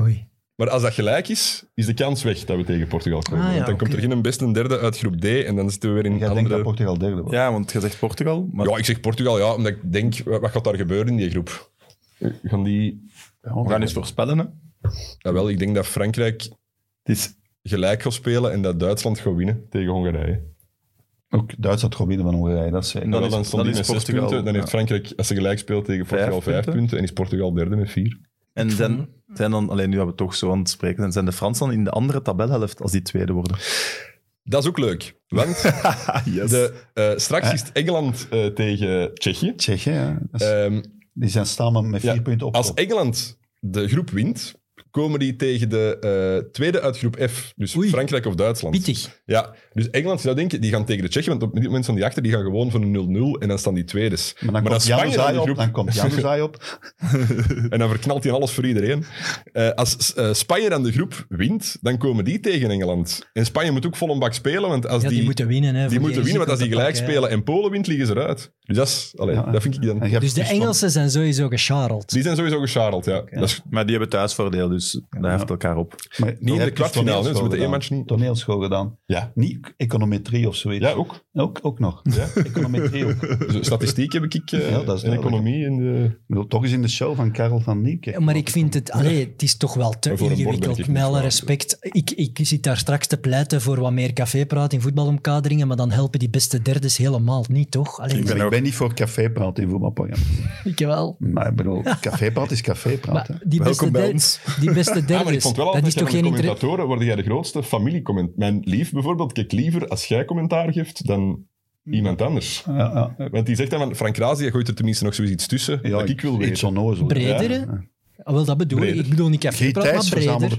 B: Oei.
D: Maar als dat gelijk is, is de kans weg dat we tegen Portugal komen.
B: Ah, ja,
D: Want dan komt
B: oké.
D: er geen beste en derde uit groep D en dan zitten we weer in
E: Jij denkt dat
D: andere...
E: Portugal derde wordt.
A: eh, Ja, want je zegt Portugal, maar
D: Ja, ik zeg Portugal, ja, omdat ik denk, wa- wat gaat daar gebeuren in die groep? Eh, Gaan die...
A: we gaan eens voorspellen. Hè.
D: Ja, wel, ik denk dat Frankrijk
A: Het is
D: gelijk gaat spelen en dat Duitsland gaat winnen tegen Hongarije.
E: Ook Duitsland gaat winnen van Hongarije, dat
A: Dan
E: zeker.
D: Dan,
A: is-
D: dan stond
A: dan
D: die
A: is
D: met zes
A: Portugal,
D: punten. Dan heeft
A: ja.
D: Frankrijk, als ze gelijk speelt tegen Portugal, vijf
A: punten.
D: punten. En is Portugal derde met vier.
A: En zijn, zijn dan, alleen nu dat we toch zo aan het spreken zijn, zijn de Fransen dan in de andere tabelhelft als die tweede worden?
D: Dat is ook leuk, want de, eh, straks is het Engeland eh, tegen Tsjechië.
E: Tsjechië, ja. Dat is-
A: Eh,
D: Ehm,
E: die zijn staan maar met
D: Ja,
E: vier punten op.
D: als Engeland de groep wint, komen die tegen de eh, tweede uit groep F. Dus
B: Oei.
D: Frankrijk of Duitsland.
B: Pittig.
D: Ja, dus Engeland zou denken, die gaan tegen de Tsjechen, want op dit moment staan die achter, die gaan gewoon voor een 0-0 en dan staan die tweedes.
E: maar dan
D: e- als
E: komt Januzaj
D: dan die
E: op,
D: groep-
E: dan komt Januzaj op.
D: en dan verknalt hij alles voor iedereen. Eh, als eh, Spanje dan de groep wint, dan komen die tegen Engeland. En Spanje moet ook vol een bak spelen, want als
B: Ja, die,
D: die,
B: moeten winnen. Hè, voor
D: die moeten
B: risico's
D: winnen, want als die
B: te
D: gelijk
B: pakken, ja.
D: spelen en Polen wint, liggen ze eruit. Dus dat, is, allee,
E: Ja.
D: dat vind ik
E: En
D: dan...
E: je hebt
B: Dus de
E: Rusland.
B: Engelsen zijn sowieso gecharreld.
D: Die zijn sowieso gescharreld, ja. Dat is
A: Maar die hebben thuisvoordeel, dus daar heeft elkaar op.
E: Maar
D: niet in de
E: heb je
D: kwartfinale, hè, dus met de
E: toneelschool
D: één match
E: gedaan.
D: niet.
E: Toneelschool gedaan.
D: Ja.
E: Niet econometrie of zoiets.
D: Ja, ook.
E: Ook, ook nog. Econometrie ook. Ik
D: Dus statistiek heb ik eh,
E: Ja, dat is
D: en
E: duidelijk.
D: economie. En, eh,
E: bedoel, toch eens in de show van Karel van Nieuwkerk.
B: Maar ik vind het, allee, het is toch wel te
D: Maar voor een bord ben ik
B: ingewikkeld.
D: niet
B: Met alle
D: zwaar.
B: respect. Ik, ik zit daar straks te pleiten voor wat meer cafépraat in voetbalomkaderingen, maar dan helpen die beste derdes helemaal niet, toch? Allee,
E: Ik ben, ik ben niet voor cafépraat in voetbalprogramma's.
B: ik wel.
E: Maar ik bedoel, cafépraat is cafépraat.
B: Maar
E: hè.
B: die beste,
A: Welkom bij
B: der-
A: ons.
B: die beste
D: Ja, Ah, maar ik
B: derdes,
D: vond wel
B: dat
D: altijd
B: is
D: dat
B: toch
D: jij
B: geen
D: van de
B: interesse...
D: commentatoren word jij de grootste familiecomment. Mijn lief bijvoorbeeld kijkt liever als jij commentaar geeft dan iemand anders.
E: Ja, Hmm. ja.
D: Want die zegt dan van Frank Razi, jij gooit er tenminste nog zoiets tussen
E: Ja,
D: dat ik wil
E: Iets
D: weten.
E: onnozel.
B: Bredere? Ah, wel, dat bedoel ik.
D: Breder.
B: Ik bedoel niet
E: Guy
B: cafépraat, maar
E: Thijs verzamelde
B: breder.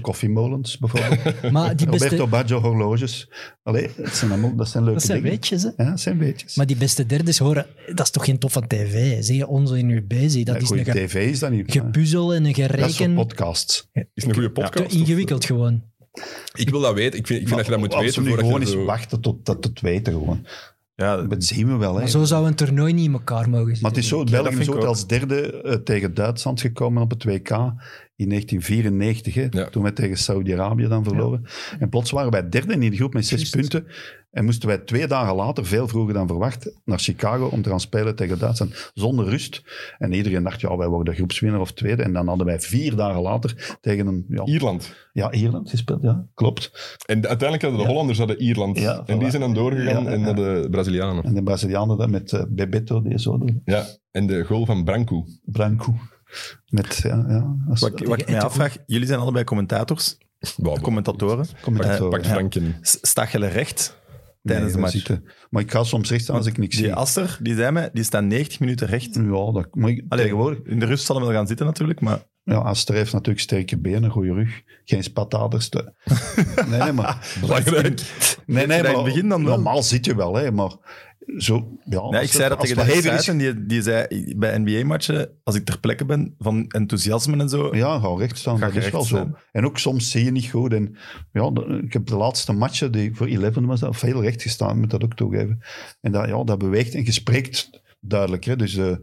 E: koffiemolens, bijvoorbeeld.
B: Maar die
E: Roberto
B: beste...
E: Baggio horloges. Allee, het zijn allemaal, dat zijn leuke
B: Dat zijn
E: dingen.
B: weetjes, hè?
E: Ja, dat zijn weetjes.
B: Maar die beste derdes horen, dat is toch geen top van tv? Zie je ons in uw bezig? Dat
E: Ja,
B: is
E: goeie
B: een ge-
E: tv is dat niet. hè.
B: gepuzzel en een
E: Dat is voor
B: gereken.
E: podcasts.
D: Is een goede
B: Te
D: podcast.
B: ingewikkeld gewoon.
D: Ik wil dat weten. Ik vind, ik vind dat je dat moet
E: als
D: weten.
E: we nu
D: voordat je
E: gewoon eens
D: zo-
E: wachten tot dat het weten gewoon.
A: Ja,
E: Dat zien we wel, hè.
B: Maar zo zou een toernooi niet in elkaar mogen zitten.
E: Maar het is zo,
A: dat
E: België
A: vind
E: is
A: ik
E: ooit
A: ook.
E: als derde eh, tegen Duitsland gekomen op het WK in 1994, hè,
D: Ja.
E: toen wij tegen Saudi-Arabië dan verloren. En plots waren wij derde in die groep met zes punten en moesten wij twee dagen later, veel vroeger dan verwacht, naar Chicago om te gaan spelen tegen Duitsland, zonder rust. En iedereen dacht, ja, wij worden groepswinnaar of tweede. En dan hadden wij vier dagen later tegen een, ja,
D: Ierland.
E: ja Ierland gespeeld, ja, klopt.
D: En de- uiteindelijk hadden de Hollanders hadden Ierland.
E: Ja,
D: en
E: voilà.
D: die zijn dan doorgegaan
E: Ja,
D: en
E: ja.
D: naar de Brazilianen.
E: En de Brazilianen dan met eh, Bebeto, die zo doen,
D: Ja. En de goal van Branco.
E: Branco. Met, ja, ja, als
A: wat, ik- wat ik mij afvraag, jullie zijn allebei commentators,
D: Wow,
A: commentatoren.
E: commentator,
D: Pakt
E: eh, ja.
D: Franken.
A: S- Staat jullie recht tijdens
E: Nee,
A: de
E: dat
A: match?
E: zitten. eh. Maar ik ga soms recht staan als ik niks zie.
A: Die Aster, die zei mij, die staan 90 minuten recht.
E: Ja, dat, maar ik-
A: Allee,
E: tegenwoordig...
A: In de rust zal hem wel gaan zitten natuurlijk, maar
E: Ja, Aster heeft natuurlijk sterke benen, goede rug. Geen spataders. Te... Nee, nee, maar...
D: Belangrijk.
E: Nee, nee,
A: Gelijk
E: maar
A: begin dan wel.
E: normaal zit je wel, hè, maar... Zo,
A: Nee,
E: ja, als
A: ik
E: het-
A: zei dat
E: als
A: tegen
E: het
A: de
E: hevig is-
A: Gijs en die, die zei bij NBA-matchen, als ik ter plekke ben, van enthousiasme en zo.
E: Ja, ga recht staan,
A: Ga
E: dat
A: je
E: is wel
A: recht
E: zo.
A: staan.
E: En ook soms zie je niet goed. En, ja, de- ik heb de laatste matchen, die ik voor 11 was, dat, veel recht gestaan, moet dat ook toegeven. En dat, ja, dat beweegt en je spreekt duidelijk. Hè. Dus eh, het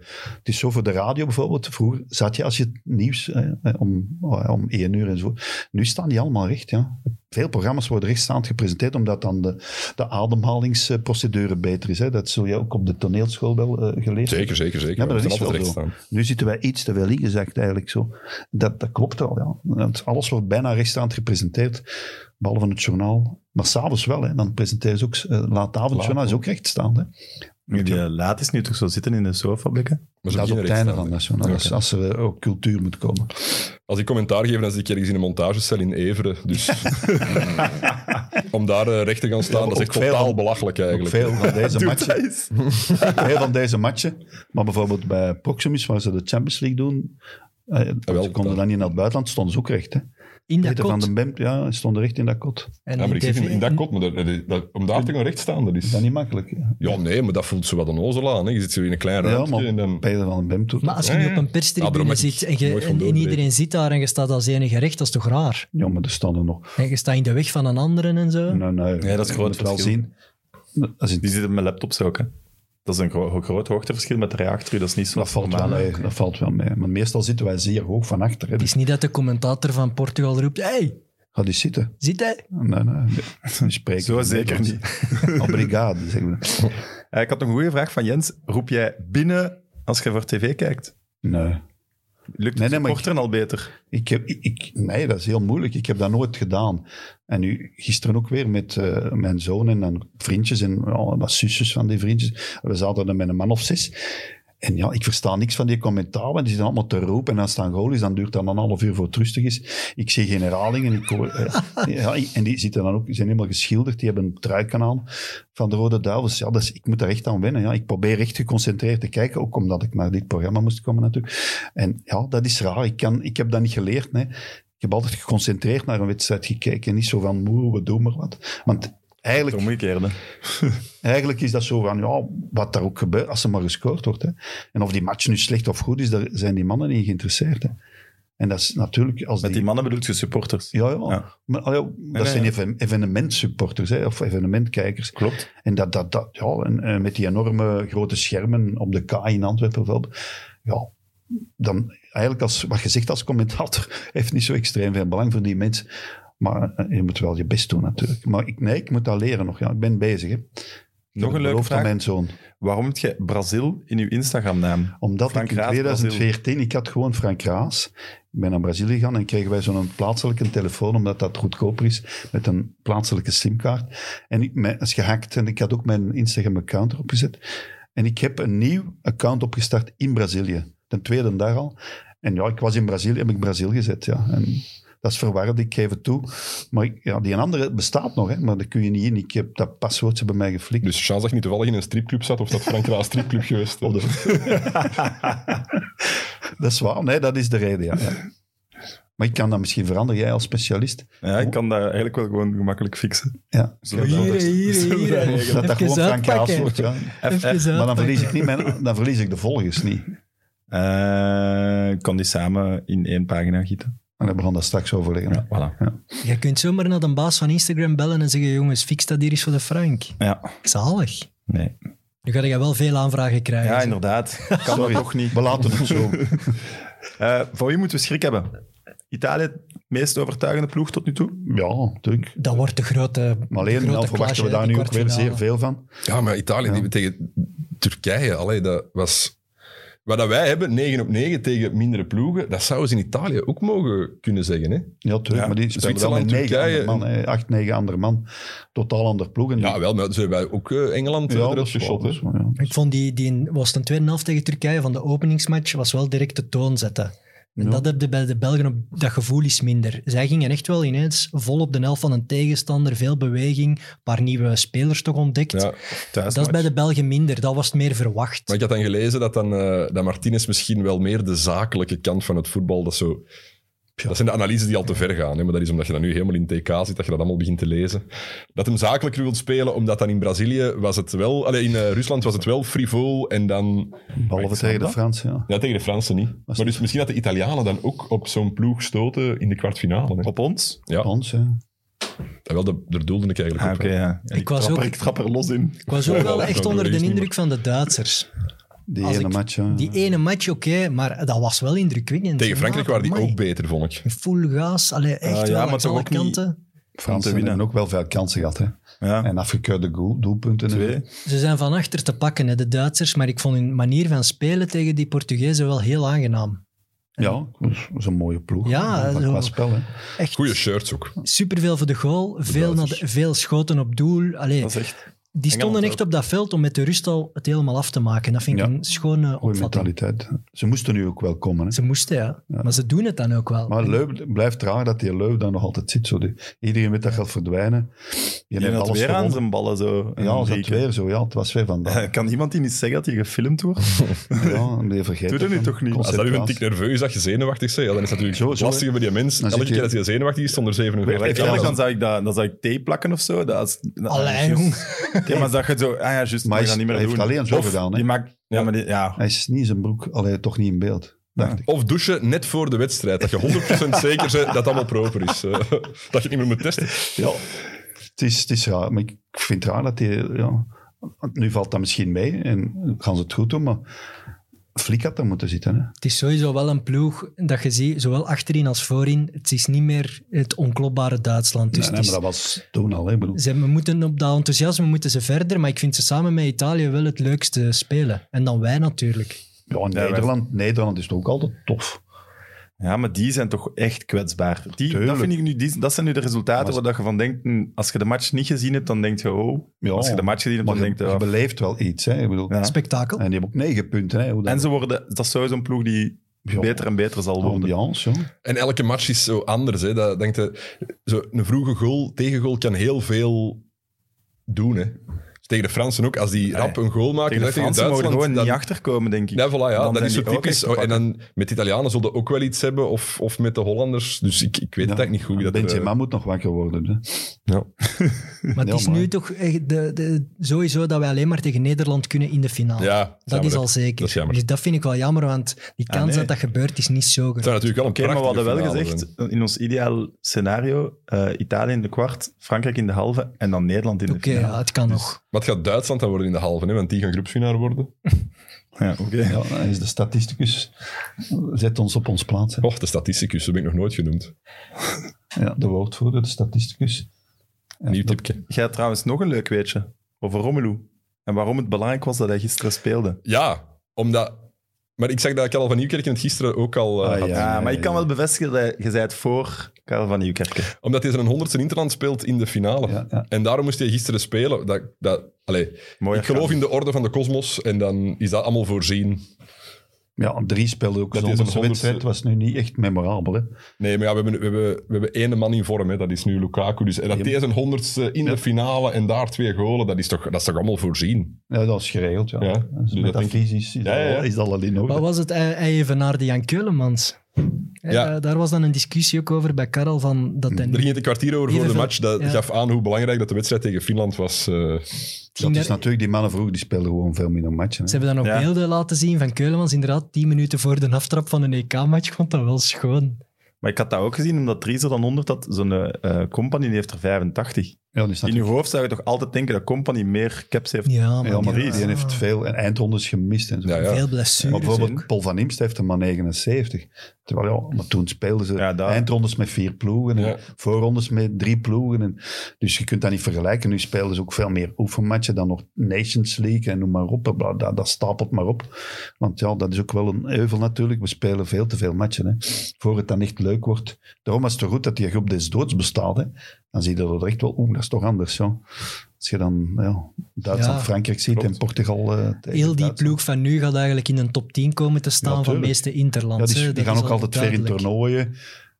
E: is zo voor de radio bijvoorbeeld. Vroeger zat je als je het nieuws eh, om, om 1 uur en zo. Nu staan die allemaal recht, ja. Veel programma's worden rechtstaand gepresenteerd, omdat dan de, de ademhalingsprocedure beter is. Hè. Dat zul je ook op de toneelschool wel eh, geleerd hebben.
C: Zeker, zeker, zeker.
E: Ja, maar
C: We
E: dat is
C: zijn
E: wel
C: altijd
E: zo.
C: recht staan.
E: Nu zitten wij iets te veel ingezakt eigenlijk zo. Dat, dat klopt wel, ja. Want alles wordt bijna rechtstaand gepresenteerd, behalve het journaal. Maar s'avonds wel, hè. dan presenteren ze ook... eh, laat avondjournaal is ook rechtstaand, hè.
A: Die eh, laat is nu toch zo zitten in de sofablikken.
C: Maar ze
E: Dat is op
C: beginnen
E: het
C: recht
E: einde
C: staan,
E: van
C: hè.
E: dat journaal, als, als er eh, ook cultuur moet komen.
C: Als ik commentaar geef, dan zit ik ergens in een montagecel in Everen. Dus om daar eh, recht te gaan staan,
E: Ja,
C: dat is echt
E: ook veel
C: totaal
E: van-
C: belachelijk
E: Ook
C: eigenlijk.
E: veel van deze matchen.
A: is.
E: veel van deze matchen. Maar bijvoorbeeld bij Proximus, waar ze de Champions League doen... eh, ze konden
C: Ah, dat-
E: dan niet naar het buitenland, stonden ze ook recht. Hè.
B: In dat
E: Peter van
B: kot.
E: den Bemp, ja, stond recht in dat kot.
B: En
C: Ja, maar
B: in
C: ik zeg
B: TV
C: in, in dat kot, maar dat- dat- dat- om daar te gaan recht staan, dat is...
E: Dat is niet makkelijk. hè.
C: Ja, nee, maar dat voelt zo wat een ozel aan. Hè. Je zit zo in een klein
E: Ja,
C: ruimte
E: maar
C: en dan...
E: Peter van den Bemp doet
B: Maar als je
C: Ja,
B: nu
C: ja.
B: op een
C: Ja, daarom
B: perstribune
C: heb ik
B: zit en, je-
C: nooit van
B: en, en
C: doorgelezen.
B: iedereen zit daar en je staat als enige recht, dat is toch raar?
E: Ja, maar er staan er nog.
B: En je staat in de weg van een andere en zo.
E: Nee, nee.
A: Ja, dat is
E: Je
A: groot
E: moet wel
A: verschil.
E: zien. Dat, is,
A: Die zitten met laptops ook, hè. Dat is een gro- groot hoogteverschil met de rij achter u. Dat is niet zo
E: dat valt wel
A: normaal, hè.
E: mee. Dat valt wel mee. Maar meestal zitten wij zeer hoog van achter. Hè.
B: Het
E: Dus
B: is niet dat de commentator van Portugal roept: hey,
E: ga die zitten.
B: zit hij?
E: Nee, nee. We spreken
A: Zo zeker niet.
E: Obrigado, zeggen we.
A: Eh, ik had nog een goede vraag van Jens. Roep jij binnen als je voor tv kijkt?
E: Nee.
A: Lukt
E: Nee,
A: het
E: nee, maar
A: supporteren al beter?
E: Ik heb, ik- ik, nee, dat is heel moeilijk. Ik heb dat nooit gedaan. En nu, gisteren ook weer met eh, mijn zoon en dan vriendjes en ja, wat zusjes van die vriendjes. We zaten dan met een man of zes. En ja, ik versta niks van die commentaar, want die zitten allemaal te roepen. En als het dan goal is, dan duurt dat een half uur voor het rustig is. Ik zie geen herhalingen. Ik hoor, eh, ja, en die zitten dan ook, die zijn helemaal geschilderd. Die hebben een truiken aan van de Rode Duivels. Ja, dat is, ik moet daar echt aan wennen. Ja. Ik probeer echt geconcentreerd te kijken, ook omdat ik naar dit programma moest komen natuurlijk. En ja, dat is raar. Ik, kan, ik heb dat niet geleerd. Nee. Ik heb altijd geconcentreerd naar een wedstrijd gekeken. Niet zo van, moe, we doen maar wat. Want
A: Het
E: eigenlijk
A: omgekeerde.
E: Eigenlijk is dat zo van, ja, wat daar ook gebeurt, als er maar gescoord wordt. Hè. En of die match nu slecht of goed is, daar zijn die mannen niet geïnteresseerd. Hè. En dat is natuurlijk... Als
A: Met die mannen bedoelt je supporters.
E: Ja, ja.
A: Ja.
E: Maar, ah ja, dat
A: nee,
E: zijn
A: ja.
E: even- evenementsupporters, hè, of evenementkijkers.
A: Klopt.
E: En, dat, dat, dat, ja, en eh, met die enorme grote schermen op de K in Antwerpen bijvoorbeeld. Ja, dan eigenlijk als, wat je zegt als commentator heeft niet zo extreem veel belang voor die mensen. Maar eh, je moet wel je best doen natuurlijk. Maar ik, nee, ik moet dat leren nog. Ja, ik ben bezig. Hè. Ik heb
A: Nog een
E: het
A: leuke
E: beloofd aan
A: vraag.
E: mijn zoon.
A: Waarom heb je Brazil in je Instagram-naam?
E: Omdat
A: Frank
E: ik in
A: Raas,
E: 2014, ik had gewoon Frank Raas. Ik ben naar Brazilië gegaan en kregen wij zo'n plaatselijke telefoon, omdat dat goedkoper is, met een plaatselijke simkaart. En ik, mijn, is gehackt en ik had ook mijn Instagram-account erop gezet. En ik heb een nieuw account opgestart in Brazilië. De tweede dag al. En ja, ik was in Brazilië, heb ik Brazil gezet, ja. En dat is verwarrend, ik geef het toe. Maar ik- ja, die andere bestaat nog, hè, maar dat kun je niet in. Ik heb dat paswoord ze bij mij geflikt.
C: Dus Charles zegt niet toevallig in een stripclub zat, of dat Frank Raas stripclub geweest. hè.
E: Dat is waar, nee, dat is de reden, ja. ja. Maar ik kan dat misschien veranderen, jij als specialist.
A: Ja, ik kan dat eigenlijk wel gewoon gemakkelijk fixen.
E: Ja.
A: Zullen we dat-
B: hier,
A: zullen we dat regelen?
E: Dat dat gewoon Frank Raas wordt, ja.
A: FF.
E: Maar dan verlies ik, niet mijn, dan verlies ik de volgers niet.
A: Eh, ik kan die samen in één pagina gieten.
E: En dan begon dat straks overleggen.
A: Ja, voilà.
B: Je kunt zomaar naar de baas van Instagram bellen en zeggen: jongens, fix dat hier eens voor de Frank.
A: Ja,
B: Zalig.
A: nee.
B: Nu ga je wel veel aanvragen krijgen.
A: Ja,
B: zeg.
A: inderdaad. Kan
E: Sorry,
A: dat toch niet.
E: We laten het zo.
A: Eh, van wie moeten we schrik hebben? Italië, het meest overtuigende ploeg tot nu toe.
E: Ja, natuurlijk.
B: Dat wordt de grote.
E: Maar alleen,
B: de grote
E: nou verwachten
B: clash, hè,
E: we daar
B: de
E: nu ook weer
B: kwartfinale.
E: zeer veel van.
C: Ja, maar Italië die tegen Turkije, allee, dat was... Wat dat wij hebben, 9 op 9 tegen mindere ploegen, dat zouden ze in Italië ook mogen kunnen zeggen. Hè?
E: Ja, tuurlijk.
A: Ja,
E: maar die spelen wel
C: Zwitserland,
E: met negen
C: Turkije,
E: andere man. hè. Acht, negen andere man. Totaal ander ploeg. En
C: Ja, wel, maar ze hebben ook eh, Engeland
E: ja,
C: ja,
E: dat
C: eruit
E: is waar,
C: geschot.
E: dat
C: hè.
E: is waar, ja.
B: Ik vond die, die was een tweede helft tegen Turkije van de openingsmatch, was wel direct de toon zetten. En
E: Ja.
B: dat heb je bij de Belgen, op, dat gevoel is minder. Zij gingen echt wel ineens vol op de helft van een tegenstander, veel beweging, een paar nieuwe spelers toch ontdekt.
C: Ja.
A: Thuis
B: dat is bij de Belgen minder, dat was het meer verwacht.
C: Maar ik had dan gelezen dat, dan, eh dat Martinez misschien wel meer de zakelijke kant van het voetbal, dat zo
D: Dat zijn de analyses die al te ver gaan. Hè? Maar dat is omdat je dan nu helemaal in TK zit, dat je dat allemaal begint te lezen. Dat hem zakelijker wilt spelen, omdat dan in Brazilië was het wel... Allee, in eh, Rusland was het wel frivol en dan...
E: Behalve tegen de Fransen, ja.
F: Ja, tegen de Fransen niet. Maar dus misschien dat de Italianen dan ook op zo'n ploeg stoten in de kwartfinale. Hè.
A: Op ons?
D: Ja,
E: Ons, ja.
D: en wel, de- daar doelde ik eigenlijk
A: Ah,
D: op.
A: oké, ja.
B: Ik was
A: trap er-
B: ook-
A: ik trap er los in.
B: Ik was ook wel
D: dat
B: echt
D: kan
B: onder
D: er
B: de
D: eens niet,
B: indruk van de Duitsers.
E: Die
B: Als
E: ene
B: ik-
E: match, ja.
B: Die ene match, oké, maar dat was wel indrukwekkend.
D: Tegen Frankrijk waren die
B: Amai.
D: ook beter, vond ik.
B: Full gas, allee, echt
A: Ah, ja,
B: wel
A: maar
B: aan
A: toch
B: alle
A: ook niet-
B: kanten.
E: Fransen
A: winnen.
E: hebben ook wel veel kansen gehad, hè.
A: Ja,
E: En afgekeurde goal- doelpunten.
A: twee.
B: Ze zijn van achter te pakken, hè, de Duitsers, maar ik vond hun manier van spelen tegen die Portugezen wel heel aangenaam.
E: Ja, dat is- dat is een mooie ploeg.
B: Ja,
E: dat
B: zo-
E: qua spel, hè.
B: Echt
D: Goeie shirts ook.
B: superveel voor de goal, veel, naar de- veel schoten op doel. Allee,
A: Dat is echt...
B: die stonden
A: Engeland
B: echt op dat veld om met de rust al het helemaal af te maken. Dat vind ik
E: Ja.
B: een schone
E: Goeie
B: opvatting.
E: mentaliteit. Ze moesten nu ook wel komen, hè.
B: Ze moesten, ja. Maar ze doen het dan ook wel.
E: Maar Leu blijft raar dat die Leu dan nog altijd zit. Zo die, iedereen weet dat gaat verdwijnen. Je
A: Je
E: neemt
A: had
E: alles
A: weer aan
E: gewonnen.
A: zijn ballen zo. En
E: Ja, dat
A: Henrique.
E: weer zo. Ja, het was weer vandaag.
A: Kan iemand die niet zeggen dat hij gefilmd wordt?
E: Ja, en die vergeet
A: Doe dat nu
E: dan.
A: toch niet?
D: Als dat u een tik nerveus dat je zenuwachtig bent, ja, dan is het natuurlijk
E: Zo, zo,
D: lastig bij die mens.
E: Dan
D: Elke
E: zit je-
D: keer dat hij zenuwachtig is, stond er
A: Eerlijk,
D: 47.
A: dan zou ik, dat, dan zou ik thee plakken of zo. Dat is, dat- ah,
B: Allee,
A: juist.
B: jong.
A: Ja, maar dat je zo... Ah ja, juist,
E: Maar
A: mag je
E: is-
A: dat niet meer
E: hij heeft
A: doen.
E: alleen zo
A: Of
E: gedaan, hè?
A: Die maakt... Ja, maar die... Ja.
E: Hij is niet in zijn broek, alleen toch niet in beeld. Dacht ik.
D: Of douchen net voor de wedstrijd. Dat je 100% zeker bent dat het allemaal proper is. Eh, dat je het niet meer moet testen.
E: Ja, het is, het is raar. Maar ik vind het raar dat hij... Ja, want nu valt dat misschien mee en gaan ze het goed doen, maar Flik had daar moeten zitten. Hè.
B: Het is sowieso wel een ploeg dat je ziet, zowel achterin als voorin. Het is niet meer het onklopbare Duitsland. Dus het
E: Nee, nee,
B: is-
E: maar dat was toen al. Hè. Ik bedoel,
B: ze we moeten op dat enthousiasme moeten ze verder, maar ik vind ze samen met Italië wel het leukste spelen. En dan wij natuurlijk.
E: ja, Nederland, Nederland is toch ook altijd tof.
A: ja, maar die zijn toch echt kwetsbaar. Die, dat,
E: Tuurlijk.
A: vind ik nu, die, dat zijn nu de resultaten
E: Maar-
A: waar dat je van denkt... hm, Als je de match niet gezien hebt, dan denk je... Oh.
E: Ja.
A: Als je de match gezien hebt,
E: Maar
A: dan
E: je,
A: denk je...
E: je
A: oh.
E: beleeft wel iets. Hè. Ik bedoel,
A: Ja.
B: Spektakel.
E: En die hebben ook negen punten. Hè. Hoe dat-
A: En ze worden... Dat is sowieso een ploeg die
E: Ja.
A: beter en beter zal
E: De
A: worden.
E: ambiance, ja.
D: En elke match is zo anders. Hè. Dat, denk je, zo een vroege goal, tegengoal kan heel veel doen. Hè. Dus tegen de Fransen ook. Als die rap een goal maken,
A: Ah, Tegen de
D: dan tegen
A: Fransen mogen er
D: Duitsland,
A: gewoon niet
D: dan-
A: achterkomen, denk ik.
D: Ja, voilà, ja.
A: Dan
D: dat
A: zijn
D: is zo
A: die ook
D: typisch. Oh,
A: echt te
D: En dan met de Italianen zullen ook wel iets hebben, of, of met de Hollanders. Dus ik, ik weet het eigenlijk niet goed. wie Dat eh, er,
E: Benzema moet nog wakker worden. Hè.
B: Maar het
E: Ja,
B: is
E: maar-
B: nu toch echt de, de, sowieso dat wij alleen maar tegen Nederland kunnen in de finale.
D: ja,
B: Ah, dat
D: jammer,
B: is
D: hè.
B: al zeker.
D: Dat is jammer.
B: Dus dat vind ik wel jammer, want die kans
A: nee.
B: dat dat gebeurt is niet zo
D: Het
B: groot.
D: zou natuurlijk wel een
A: Oké, maar we
D: prachtige
A: hadden wel
D: finale
A: gezegd,
D: zijn.
A: in ons ideaal scenario, eh, Italië in de kwart, Frankrijk in de halve en dan Nederland in de
B: Oké,
A: finale.
B: ja, het kan nog.
D: Maar het gaat Duitsland dan worden in de halve, hè, want die gaan groepswinnaar worden.
A: Ja, oké.
E: Ja, hij is de statisticus. Zet ons op ons plaats. Hè.
D: Och, de statisticus, dat ben ik nog nooit genoemd.
E: Ja, de woordvoerder, de statisticus.
D: Nieuw tipje.
A: Jij had trouwens nog een leuk weetje over Romelu. En waarom het belangrijk was dat hij gisteren speelde.
D: Ja, omdat... Maar ik zag dat Karel van Nieuwkerk het gisteren ook al eh,
E: Ah,
D: had.
E: ja.
A: Ja, maar ik kan
E: ja.
A: wel bevestigen dat je zei het voor Karel van Nieuwkerken.
D: Omdat hij zijn honderdste Interland speelt in de finale.
E: Ja, ja.
D: En daarom moest hij gisteren spelen. Dat, dat, allee,
A: Mooi
D: ik geloof in de orde van de kosmos en dan is dat allemaal voorzien.
E: Ja, drie speelde ook
D: Dat
E: zonder
D: is een
E: zijn wedstrijd. was nu niet echt memorabel. Hè.
D: Nee, maar ja, we hebben, we hebben, we hebben één man in vorm, hè, dat is nu Lukaku. Dus, en dat hij zijn honderdste in de finale en daar twee golen, dat is toch, dat is toch allemaal voorzien?
E: Ja, dat is geregeld, ja.
D: Ja,
E: Dus
D: dus dat
E: met dat
D: denk
E: fysisch
D: Ja,
E: is, dat
D: ja,
E: al-
D: ja.
E: is dat al in
B: Wat
E: orde.
B: was het ei- ei van naar de Jan Keulemans? Eh,
D: Ja.
B: daar- daar was dan een discussie ook over bij Karel van dat hij
D: Er ging het een kwartier over voor de
B: Iedereen-
D: match. Dat
B: ja.
D: gaf aan hoe belangrijk dat de wedstrijd tegen Finland was. eh.
E: Dat is natuurlijk, die mannen vroeger die speelden gewoon veel minder matchen.
B: Ze
E: Hè.
B: hebben dan nog
A: Ja.
B: beelden laten zien van Keulemans. Inderdaad, tien minuten voor de aftrap van een EK-match. Ik vond dat wel schoon.
A: Maar ik had dat ook gezien, omdat Driezer dan 100 had. Zo'n eh company die heeft er 85.
E: Ja, die is
A: In je
E: natuurlijk-
A: hoofd zou je toch altijd denken dat company meer caps heeft.
B: Ja,
E: ja, maar
A: Dries.
E: die heeft veel en eindrondes gemist en zo.
D: Ja, ja.
B: Veel
E: Maar
B: blessures.
E: bijvoorbeeld
B: ook.
E: Paul van Imst heeft er maar 79. Terwijl, ja, maar toen speelden ze
A: Ja, daar-
E: eindrondes met vier ploegen en
D: Ja.
E: voorrondes met drie ploegen. En, dus je kunt dat niet vergelijken. Nu spelen ze ook veel meer oefenmatchen dan nog Nations League en noem maar op. Bla, Dat, dat stapelt maar op. Want ja, dat is ook wel een euvel natuurlijk. We spelen veel te veel matchen. Hè. Voor het dan echt leuk wordt. Daarom is het toch goed dat die groep des doods bestaat. Hè. Dan zie je dat er echt wel, oeh, dat is toch anders. Ja. Als je dan ja, Duitsland,
B: Ja,
E: Frankrijk ziet en Portugal eh, tegen
B: Heel die
E: Duitsland.
B: ploeg van nu gaat eigenlijk in een top 10 komen te staan
E: Ja,
B: van
E: tuurlijk.
B: de meeste Interlands.
E: Ja, die,
B: hè.
E: die
B: eh, Dat
E: gaan
B: is
E: ook
B: al
E: altijd ver in
B: duidelijk.
E: toernooien.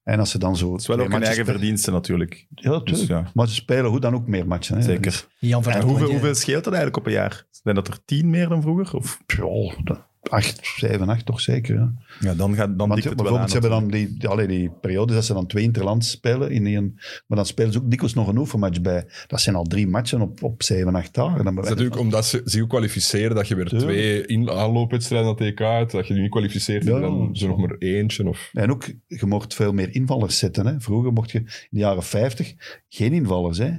E: En als ze dan zo...
A: Het is wel ook een eigen verdienste natuurlijk.
E: Ja, natuurlijk.
A: Dus ja.
E: Maar ze spelen hoe dan ook meer matchen. Hè.
A: Zeker.
B: Jan van
A: En
B: Rooyen.
A: hoeveel, hoeveel scheelt dat eigenlijk op een jaar? Zijn dat er tien meer dan vroeger? Of
E: Dus, ja, dat- acht, zeven, acht toch zeker. Ja.
A: Ja, dan, gaat, dan
E: Want
A: dikt het wel aan.
E: bijvoorbeeld, ze hebben dan die, die, allee, die periodes dat ze dan twee interlands spelen. In één, maar dan spelen ze ook dikwijls nog een oefenmatch bij. Dat zijn al drie matchen op, op zeven, acht dagen. Dan bij
D: is
E: wijze
D: natuurlijk omdat ze zich ook kwalificeren dat je weer twee in aanloopwedstrijden aan TK uit, dat je die niet kwalificeert
E: Ja.
D: en dan zo nog maar eentje. Of...
E: En ook, je mocht veel meer invallers zetten. Hè. Vroeger mocht je in de jaren 50 geen invallers. Hè.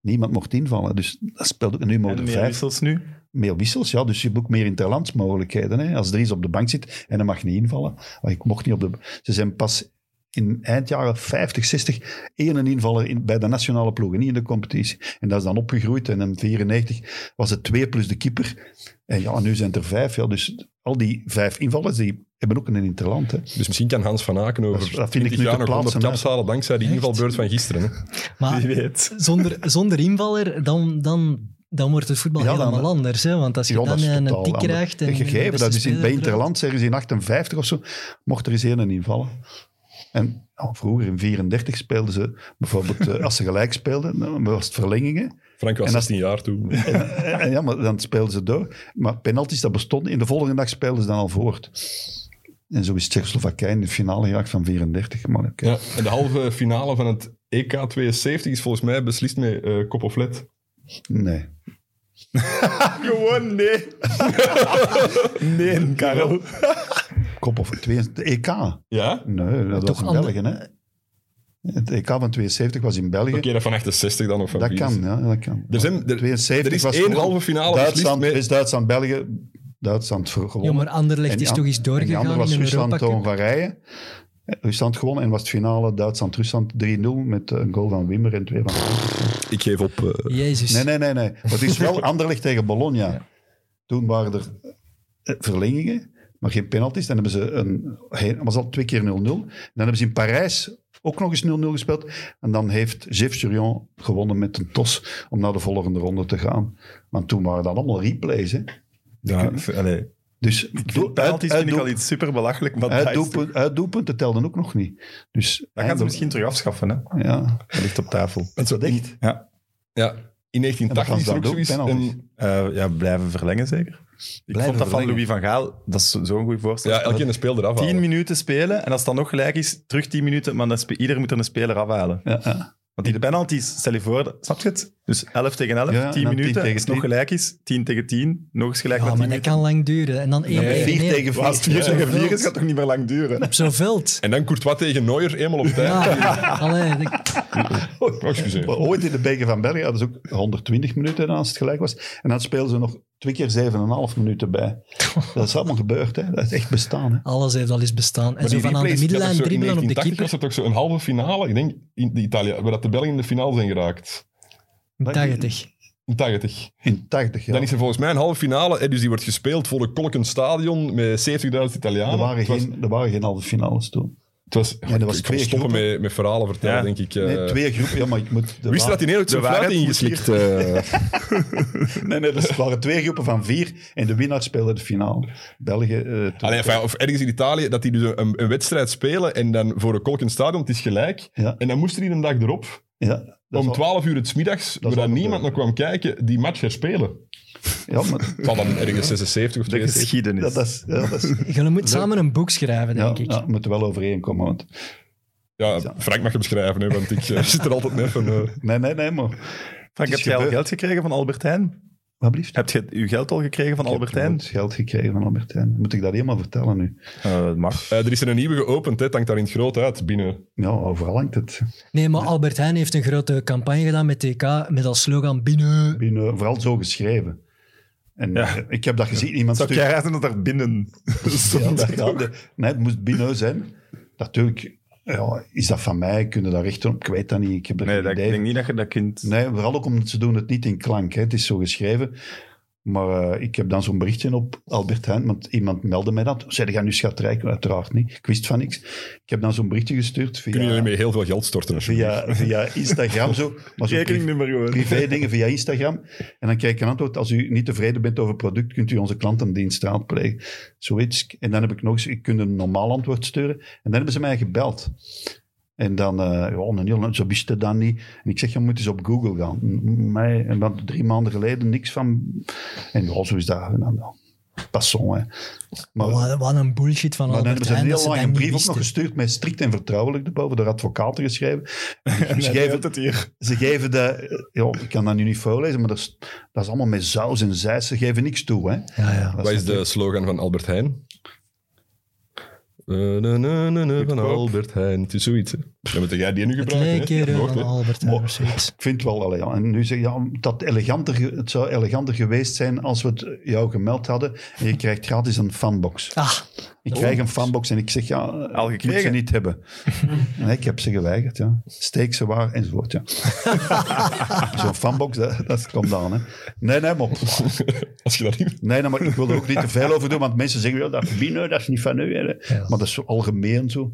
E: Niemand mocht invallen. Dus dat speelt ook. Nu mogen
A: En
E: er
A: meer
E: vijf.
A: wissels nu.
E: Meer wissels, ja. Dus je hebt ook meer interlandsmogelijkheden. Hè. Als er iets op de bank zit en hij mag niet invallen. Maar ik mocht niet op de... Ze zijn pas in eind jaren 50, 60 één een invaller in, bij de nationale ploegen, niet in de competitie. En dat is dan opgegroeid. En in 94 was het twee plus de keeper. En ja, nu zijn het er vijf. Ja. Dus al die vijf invallers, die hebben ook een interland. Hè.
D: Dus misschien kan Hans van Aken over
E: Dat is- dat vind ik
D: 20
E: nu
D: jaar
E: te
D: nog 100
E: plaatsen,
D: taps halen dankzij die
B: Echt?
D: invalbeurt van gisteren. Hè.
A: Wie
B: Maar
A: weet.
B: zonder, zonder invaller, dan, dan, dan wordt het voetbal
E: Ja, dan-
B: helemaal anders. Hè? Want als je
E: Ja,
B: dan eh,
E: dat is
B: een tik
E: totaal anders.
B: krijgt... En
E: En
B: de
E: gegeven,
B: beste
E: dat is in, bij
B: speler eruit.
E: Interland, zeggen ze in 58 of zo, mocht er eens één invallen. En ja, vroeger in 34 speelden ze bijvoorbeeld, eh, als ze gelijk speelden, dan was het verlengingen.
D: Frank was
E: En dat-
D: 16 jaar toen.
E: En, en ja, maar dan speelden ze door. Maar penalties, dat bestond. In de volgende dag speelden ze dan al voort. En zo is Tsjechoslowakije in de finale geraakt van 34. Maar oké.
D: Ja, en de halve finale van het EK 72 is volgens mij beslist met eh, kop of led.
E: Nee.
A: Gewoon nee. nee, Karel.
E: Kop of twee. De EK?
D: Ja? Oké,
E: Nee, dat
B: Toch
E: was in
B: ander-
E: België, hè? Het EK van 72 was in België.
D: dat van 68 dan of van
E: Dat
D: wie
E: kan,
D: is het?
E: ja, dat kan.
D: Er, zijn, er,
E: 72
D: er is
E: was
D: één
E: gewoon
D: halve finale beslist
E: Duitsland,
D: met...
E: West-Duitsland, België. Duitsland ver-
B: Ja,
E: gewonnen.
B: maar Anderlecht
E: En die
B: is
E: an-
B: toch eens
E: en die andere
B: doorgegaan
E: was
B: in een
E: Rusland,
B: Europa Cup.
E: Hongarije. Eh, Rusland gewonnen en was het finale Duitsland-Rusland 3-0 met eh, een goal van Wimmer en twee van...
D: Ik geef op... eh,
B: Jezus.
E: Nee, nee, nee. nee. Maar het is wel Anderlecht tegen Bologna. Toen waren er eh, verlengingen, maar geen penalties. Dan hebben ze een... Het was al twee keer 0-0. En Dan hebben ze in Parijs ook nog eens 0-0 gespeeld. En dan heeft Jeff Surion gewonnen met een tos om naar de volgende ronde te gaan. Want toen waren dat allemaal replays, hè.
A: Ja, allee.
E: Dus doel-
A: Doe, penalties
E: uit-
A: vind ik
E: uitdoel-
A: al iets super belachelijk, maar dat, is-
E: Uitdoelpunt, uitdoelpunten telden ook nog niet.
A: dat
E: Dus
A: gaan ze
E: eindelijk-
A: misschien terug afschaffen. Hè?
E: Ja,
A: Dat ligt op tafel.
E: dat is echt.
D: ja, in
E: En dat
D: 1980 is er ook
E: was
D: zoiets.
E: dan ook penalties.
D: En,
A: Eh, ja, blijven verlengen zeker. Ik
E: Blijven
A: vond dat van
E: verlengen.
A: Louis van Gaal, dat is zo- zo'n goed voorstel.
D: ja, elke ene speelde eraf.
A: 10
D: halen.
A: minuten spelen en als het dan nog gelijk is, terug 10 minuten, maar dan spe- ieder moet er een speler afhalen.
E: Ja, ja.
A: Want die penalties, stel je voor, dat- snap je het? Dus 11 tegen 11,
E: Ja, en
A: 10
E: dan
A: minuten,
E: 10 tegen
A: als het nog
E: 10.
A: gelijk is, 10 tegen 10, nog eens gelijk
B: ja,
A: naar 10
B: maar dat
A: minuten.
B: kan lang duren. En dan één tegen
E: Vier
B: één.
E: tegen
A: Als het 4
E: vier.
A: tegen 4
B: Veld.
A: is, gaat het toch niet meer lang duren?
B: Op zo'n veld.
D: En dan Courtois tegen Neuer, eenmaal op tijd.
B: Ja, allee, dat-
D: Oh, excuseer.
E: Maar Ooit in de beker van België hadden ze ook 120 minuten dan als het gelijk was. En dan speelden ze nog twee keer 7,5 minuten bij. Dat is allemaal gebeurd, hè. Dat is echt bestaan, hè.
B: alles heeft al eens bestaan. En
D: Maar
B: zo
D: die
B: van aan de
D: replays, ja,
B: middenlijn
D: dat is zo in
B: dribbelen op de
D: 1980
B: keeper.
D: was er toch zo een halve finale, ik denk, in de Italië, waar dat de Belgen in de finale zijn geraakt.
B: 80.
D: In 80.
E: In 80 jaar.
D: Dan is er volgens mij een halve finale, hè, dus die wordt gespeeld voor een kolkend stadion met 70.000 Italianen.
E: Er waren,
D: het was,
E: geen, er waren geen halve finales toen.
D: het was,
E: er was
D: ik ga
E: twee
D: stoppen
E: groepen.
D: met, met verhalen vertellen,
A: Ja.
D: denk ik. eh.
E: Nee, twee groepen. Ja, maar ik moet... er
D: Wist je
E: waren-
D: dat die eerlijk zijn
A: de
D: fluit
A: waarheid moet
D: ingeslikt? eh?
E: Nee, nee, dus er waren twee groepen van vier. En de winnaar speelde de finale. België... eh, toen-
D: Allee, Ah, enfin, of ergens in Italië, dat die dus een, een wedstrijd spelen en dan voor een kolkend stadion, het is gelijk.
E: Ja.
D: En dan moesten die een dag erop,
E: ja, dat
D: om
E: is al-
D: 12 uur het middags, waar
E: is al
D: dan niemand nog
E: gebeurd.
D: kwam kijken, die match herspelen.
E: Ja, maar...
D: Het zal dan ergens 76 of
A: De
D: 72.
E: Ja,
A: geschiedenis.
E: dat is, ja, dat is
B: Je moet samen een boek schrijven,
E: Ja,
B: denk ik.
E: ja, we moeten wel overeenkomen. Want...
D: Ja, Frank mag je beschrijven, hè, want ik eh, zit er altijd mee van... eh,
E: Nee, nee, nee, maar...
A: Frank,
E: Het
A: heb
E: is
A: jij al
E: gebeurd.
A: geld gekregen van Albert Heijn?
E: Wat blieft?
A: Heb je uw geld al gekregen van Albert Heijn?
E: Ik heb nooit geld gekregen van Albertijn. Moet ik dat helemaal vertellen nu?
A: Eh, dat mag.
D: Eh, er is er een nieuwe geopend, hè, het hangt daar in het groot uit, binnen.
E: Ja, overal hangt het.
B: Nee, maar Albert Heijn heeft een grote campagne gedaan met TK met als slogan binnen.
E: Binnen, vooral zo geschreven. En
A: Ja.
E: eh, ik heb dat gezien. Iemand
A: Zou jij raar zijn dat daar binnen
E: Ja,
A: stond?
E: dat- ja, de- nee, het moest binnen zijn. Natuurlijk, ja, is dat van mij? Kunnen daar rechten op? Ik weet dat niet. Ik heb er
A: Nee,
E: geen
A: dat, ik
E: idee
A: denk niet dat je dat kunt.
E: Nee, vooral ook omdat ze doen het niet in klank. Hè. Het is zo geschreven. Maar eh, ik heb dan zo'n berichtje op Albert Heijn, want iemand meldde mij dat. Zei, ga nu schatrijk? Uiteraard niet. Ik wist van niks. Ik heb dan zo'n berichtje gestuurd
D: Kunnen jullie
E: via,
D: mee heel veel geld storten, alsjeblieft?
E: via, via Instagram. Zo, maar zo privé-
A: Rekeningnummer gewoon.
E: privé dingen via Instagram. En dan krijg ik een antwoord. Als u niet tevreden bent over het product, kunt u onze klantendienst raadplegen. Zoiets. En dan heb ik nog eens, ik kunt een normaal antwoord sturen. En dan hebben ze mij gebeld. En dan, eh ja, een heel, zo wist het dan niet. En ik zeg, je moet eens op Google gaan. M- Mij, en dan drie maanden geleden niks van. En ja, zo is dat. En dan, ja. Passon. Hè. Maar,
B: Wat, wat een bullshit van
E: maar
B: Albert
E: nee, we zijn
B: Heijn dat
E: heel
B: ze
E: lang
B: dat
E: een
B: niet
E: brief ook nog
B: wisten.
E: gestuurd met strikt en vertrouwelijk erboven door advocaten geschreven. Ze geven,
A: het hier.
E: ze geven de, ja, ik kan dat nu niet voorlezen, maar dat is, dat is allemaal met saus en zeis. Ze geven niks toe. Hè.
B: Ja, ja.
E: Dat
C: Wat is de slogan van Albert Heijn? Eh, na, na, na, na, van
A: Goedkoop.
C: Albert Heijn. Het is zoiets. hè.
D: Dan moet jij die nu
B: Het
D: gebruiken.
B: leuke
D: hè?
B: keer
D: Dat mag,
B: van
D: hè?
B: Albert Heijn of zoiets.
E: Ik vind wel, allee, ja, en nu zeg je, ja, dat eleganter, ge- het zou eleganter geweest zijn als we het jou gemeld hadden. En je krijgt gratis een fanbox.
B: Ah,
E: Ik krijg een fanbox en ik zeg, ja, Oh. Al ik moet ze
A: gekregen?
E: niet hebben. Nee, ik heb ze geweigerd, ja. Steek ze waar, enzovoort, ja. Zo'n fanbox, dat, dat komt aan, hè. Nee, nee, maar...
D: Als je dat niet...
E: Nee, nee, maar ik wil er ook niet te veel over doen, want mensen zeggen, ja, dat is binnen, dat is niet van u. hè. Maar dat is zo algemeen zo.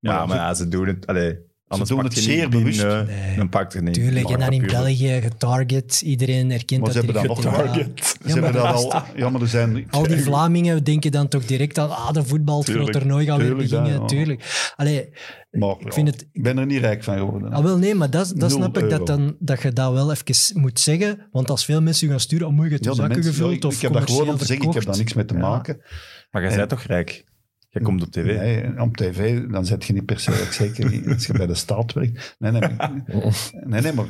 A: Ja, maar ja, ze doen het. Allee, anders
E: doen
A: pakt
E: het
A: je niet
E: zeer
A: die,
E: bewust.
A: eh,
B: Nee.
A: Dan pakt het niet.
B: tuurlijk. En
A: Maar
B: dan in
A: puur-
B: België getarget. Iedereen herkent
E: Maar ze
B: dat
E: hebben dat
B: direct.
E: nog
B: Ja.
E: target.
B: Ja,
E: Ze hebben
B: maar
E: dat
B: dat
E: al... Ja, maar er zijn...
B: Al die Vlamingen denken dan toch direct aan ah, de voetbal, het groot
E: Tuurlijk,
B: toernooi gaat weer
E: tuurlijk,
B: beginnen.
E: ja, ja.
B: Tuurlijk. Allee,
E: Maar, ja,
B: vind het-
E: ik ben er niet rijk van geworden.
B: Ah, wel, nee, maar dat, dat
E: Nul
B: snap ik
E: euro.
B: dat, dan, dat je dat wel even moet zeggen. Want als veel mensen u gaan sturen, oh, moet je het
E: Ja,
B: in
E: de
B: zakken
E: mensen-
B: gevuld
E: ja,
B: of
E: ik, ik heb dat gewoon om te
B: commercieel
E: zeggen, ik heb daar
B: verkocht?
E: niks mee te maken.
A: Maar jij bent toch rijk? Jij komt op tv.
E: Nee, op tv, dan zet je niet per se rijk, zeker niet als je bij de staat werkt. Nee, nee, maar- nee, nee, maar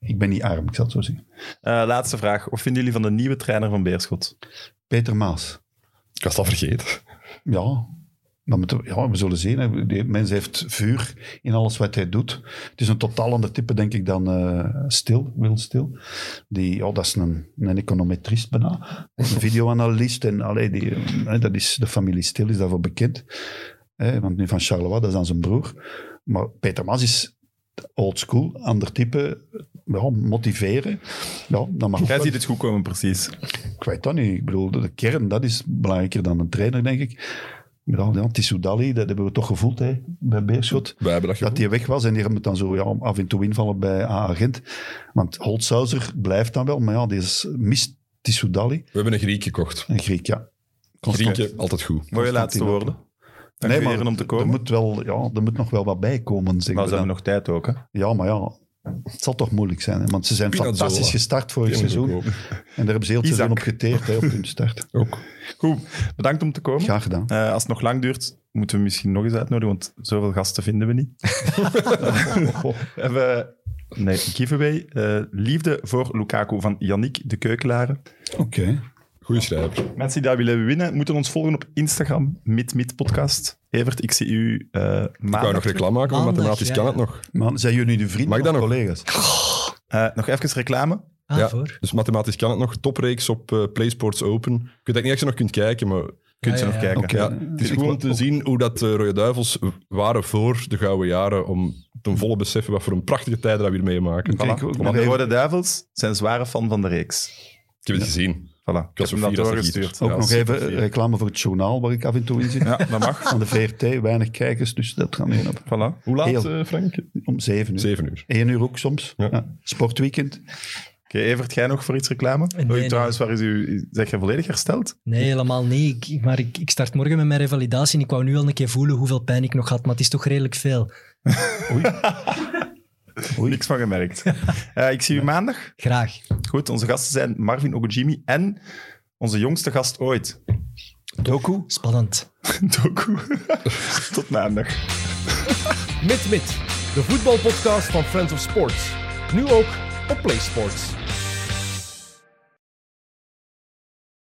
E: ik ben niet arm, ik zal het zo zeggen.
A: Eh, laatste vraag. Wat vinden jullie van de nieuwe trainer van Beerschot?
E: Peter Maas.
D: Ik was dat vergeten.
E: Ja, dan moeten we, ja, we zullen zien. hè. Die mens heeft vuur in alles wat hij doet. Het is een totaal ander type, denk ik, dan eh, Stil, Wil Stil. Die, ja, dat is een, een econometrist bijna. Een videoanalist. En, allee, die, eh, dat is, de familie Stil is daarvoor bekend. Hè, want nu van Charleroi, dat is dan zijn broer. Maar Peter Maas is old school, ander type. Ja, motiveren. Ja, dat mag ook
A: Jij
E: wel.
A: ziet het goed komen, precies.
E: Ik weet dat niet. Ik bedoel, de kern, dat is belangrijker dan een trainer, denk ik. Ja, ja, Tissoudali, dat hebben we toch gevoeld hè, bij Beerschot.
C: Wij hebben dat
E: Dat
C: gevoel.
E: die weg was en die moet dan zo ja, af en toe invallen bij A-agent. Want Holtzhauser blijft dan wel, maar ja, die is, mist Tissoudali.
C: We hebben een Griek gekocht.
E: Een Griek, ja.
C: Griekje, altijd goed.
A: Mooie laatste woorden. Dank nee, heren om te
E: er
A: komen.
E: moet, wel, ja, er moet nog wel wat bij komen, zeggen
A: maar
E: we
A: ze hebben
E: dan.
A: nog tijd ook. Hè?
E: Ja, maar ja, het zal toch moeilijk zijn. Hè, want ze zijn
C: Pinazzola.
E: fantastisch gestart vorig
C: Die moet
E: seizoen.
C: ook
E: En
C: open.
E: daar hebben ze heel het
A: Isaac.
E: seizoen op geteerd, hè, op hun start.
C: Ook.
A: Goed, bedankt om te komen.
E: Graag gedaan.
A: Eh, als het nog lang duurt, moeten we misschien nog eens uitnodigen, want zoveel gasten vinden we niet. we hebben nee, een giveaway. Eh, liefde voor Lukaku van Yannick de Keukelaren.
E: Oké.
C: Goeie schrijver.
A: Mensen die dat willen winnen, moeten ons volgen op Instagram, MidMidPodcast. Evert, ik zie u eh
C: Ik wou
A: maandag.
C: nog reclame maken, maar
B: Maandag,
C: mathematisch
B: ja.
C: kan het nog.
E: Maar zijn jullie de vrienden
C: Mag ik dat
E: of
C: nog?
E: collega's?
A: Eh, nog even reclame.
B: Ah,
C: Ja.
B: voor.
C: Dus mathematisch kan het nog. Topreeks op eh, PlaySports Open. Ik weet eigenlijk niet of je nog kunt kijken, maar
A: Kunt
B: Ja,
E: Ah,
A: je
B: ja,
A: nog
B: ja.
A: kijken.
E: Oké.
C: ja, het is
A: ik
C: goed
A: wel
C: om te zien hoe dat de Rode Duivels waren voor de gouden jaren. Om ten volle beseffen wat voor een prachtige tijden dat we hier meemaken.
E: Oké,
C: Voilà.
E: ik wil ook
A: Want
E: nog
A: de
E: even-
A: Rode Duivels zijn zware fan van de reeks.
C: Ik heb het gezien.
A: Voilà. Ik heb
C: was
A: hem
C: zo
A: dat
C: fier als ik hier.
A: doorgestuurd.
E: ook
C: Ja,
E: nog
C: super
E: even eh,
C: fier.
E: reclame voor het journaal waar ik af en toe in zit.
A: Ja, dat mag.
E: Van de VRT, weinig kijkers, dus dat gaat niet op.
A: Voilà.
C: Hoe laat,
E: Heel.
C: eh, Frank?
E: Om zeven uur.
C: Zeven uur.
E: 1 uur ook soms.
C: Ja.
E: Ja. Sportweekend.
A: Oké, Evert, jij nog voor iets reclame?
B: Nee,
A: Oei,
B: nee.
A: trouwens, waar is u, zeg je volledig hersteld?
B: Nee, helemaal niet. Ik, maar ik, ik start morgen met mijn revalidatie en ik wou nu al een keer voelen hoeveel pijn ik nog had, maar het is toch redelijk veel.
A: Niks van gemerkt. Eh, ik zie u maandag.
B: Graag.
A: Goed, onze gasten zijn Marvin Ogujimi en onze jongste gast ooit,
E: Doku.
B: Spannend.
A: Doku. Tot maandag.
G: Mit Mit, de voetbalpodcast van Friends of Sports. Nu ook op PlaySports.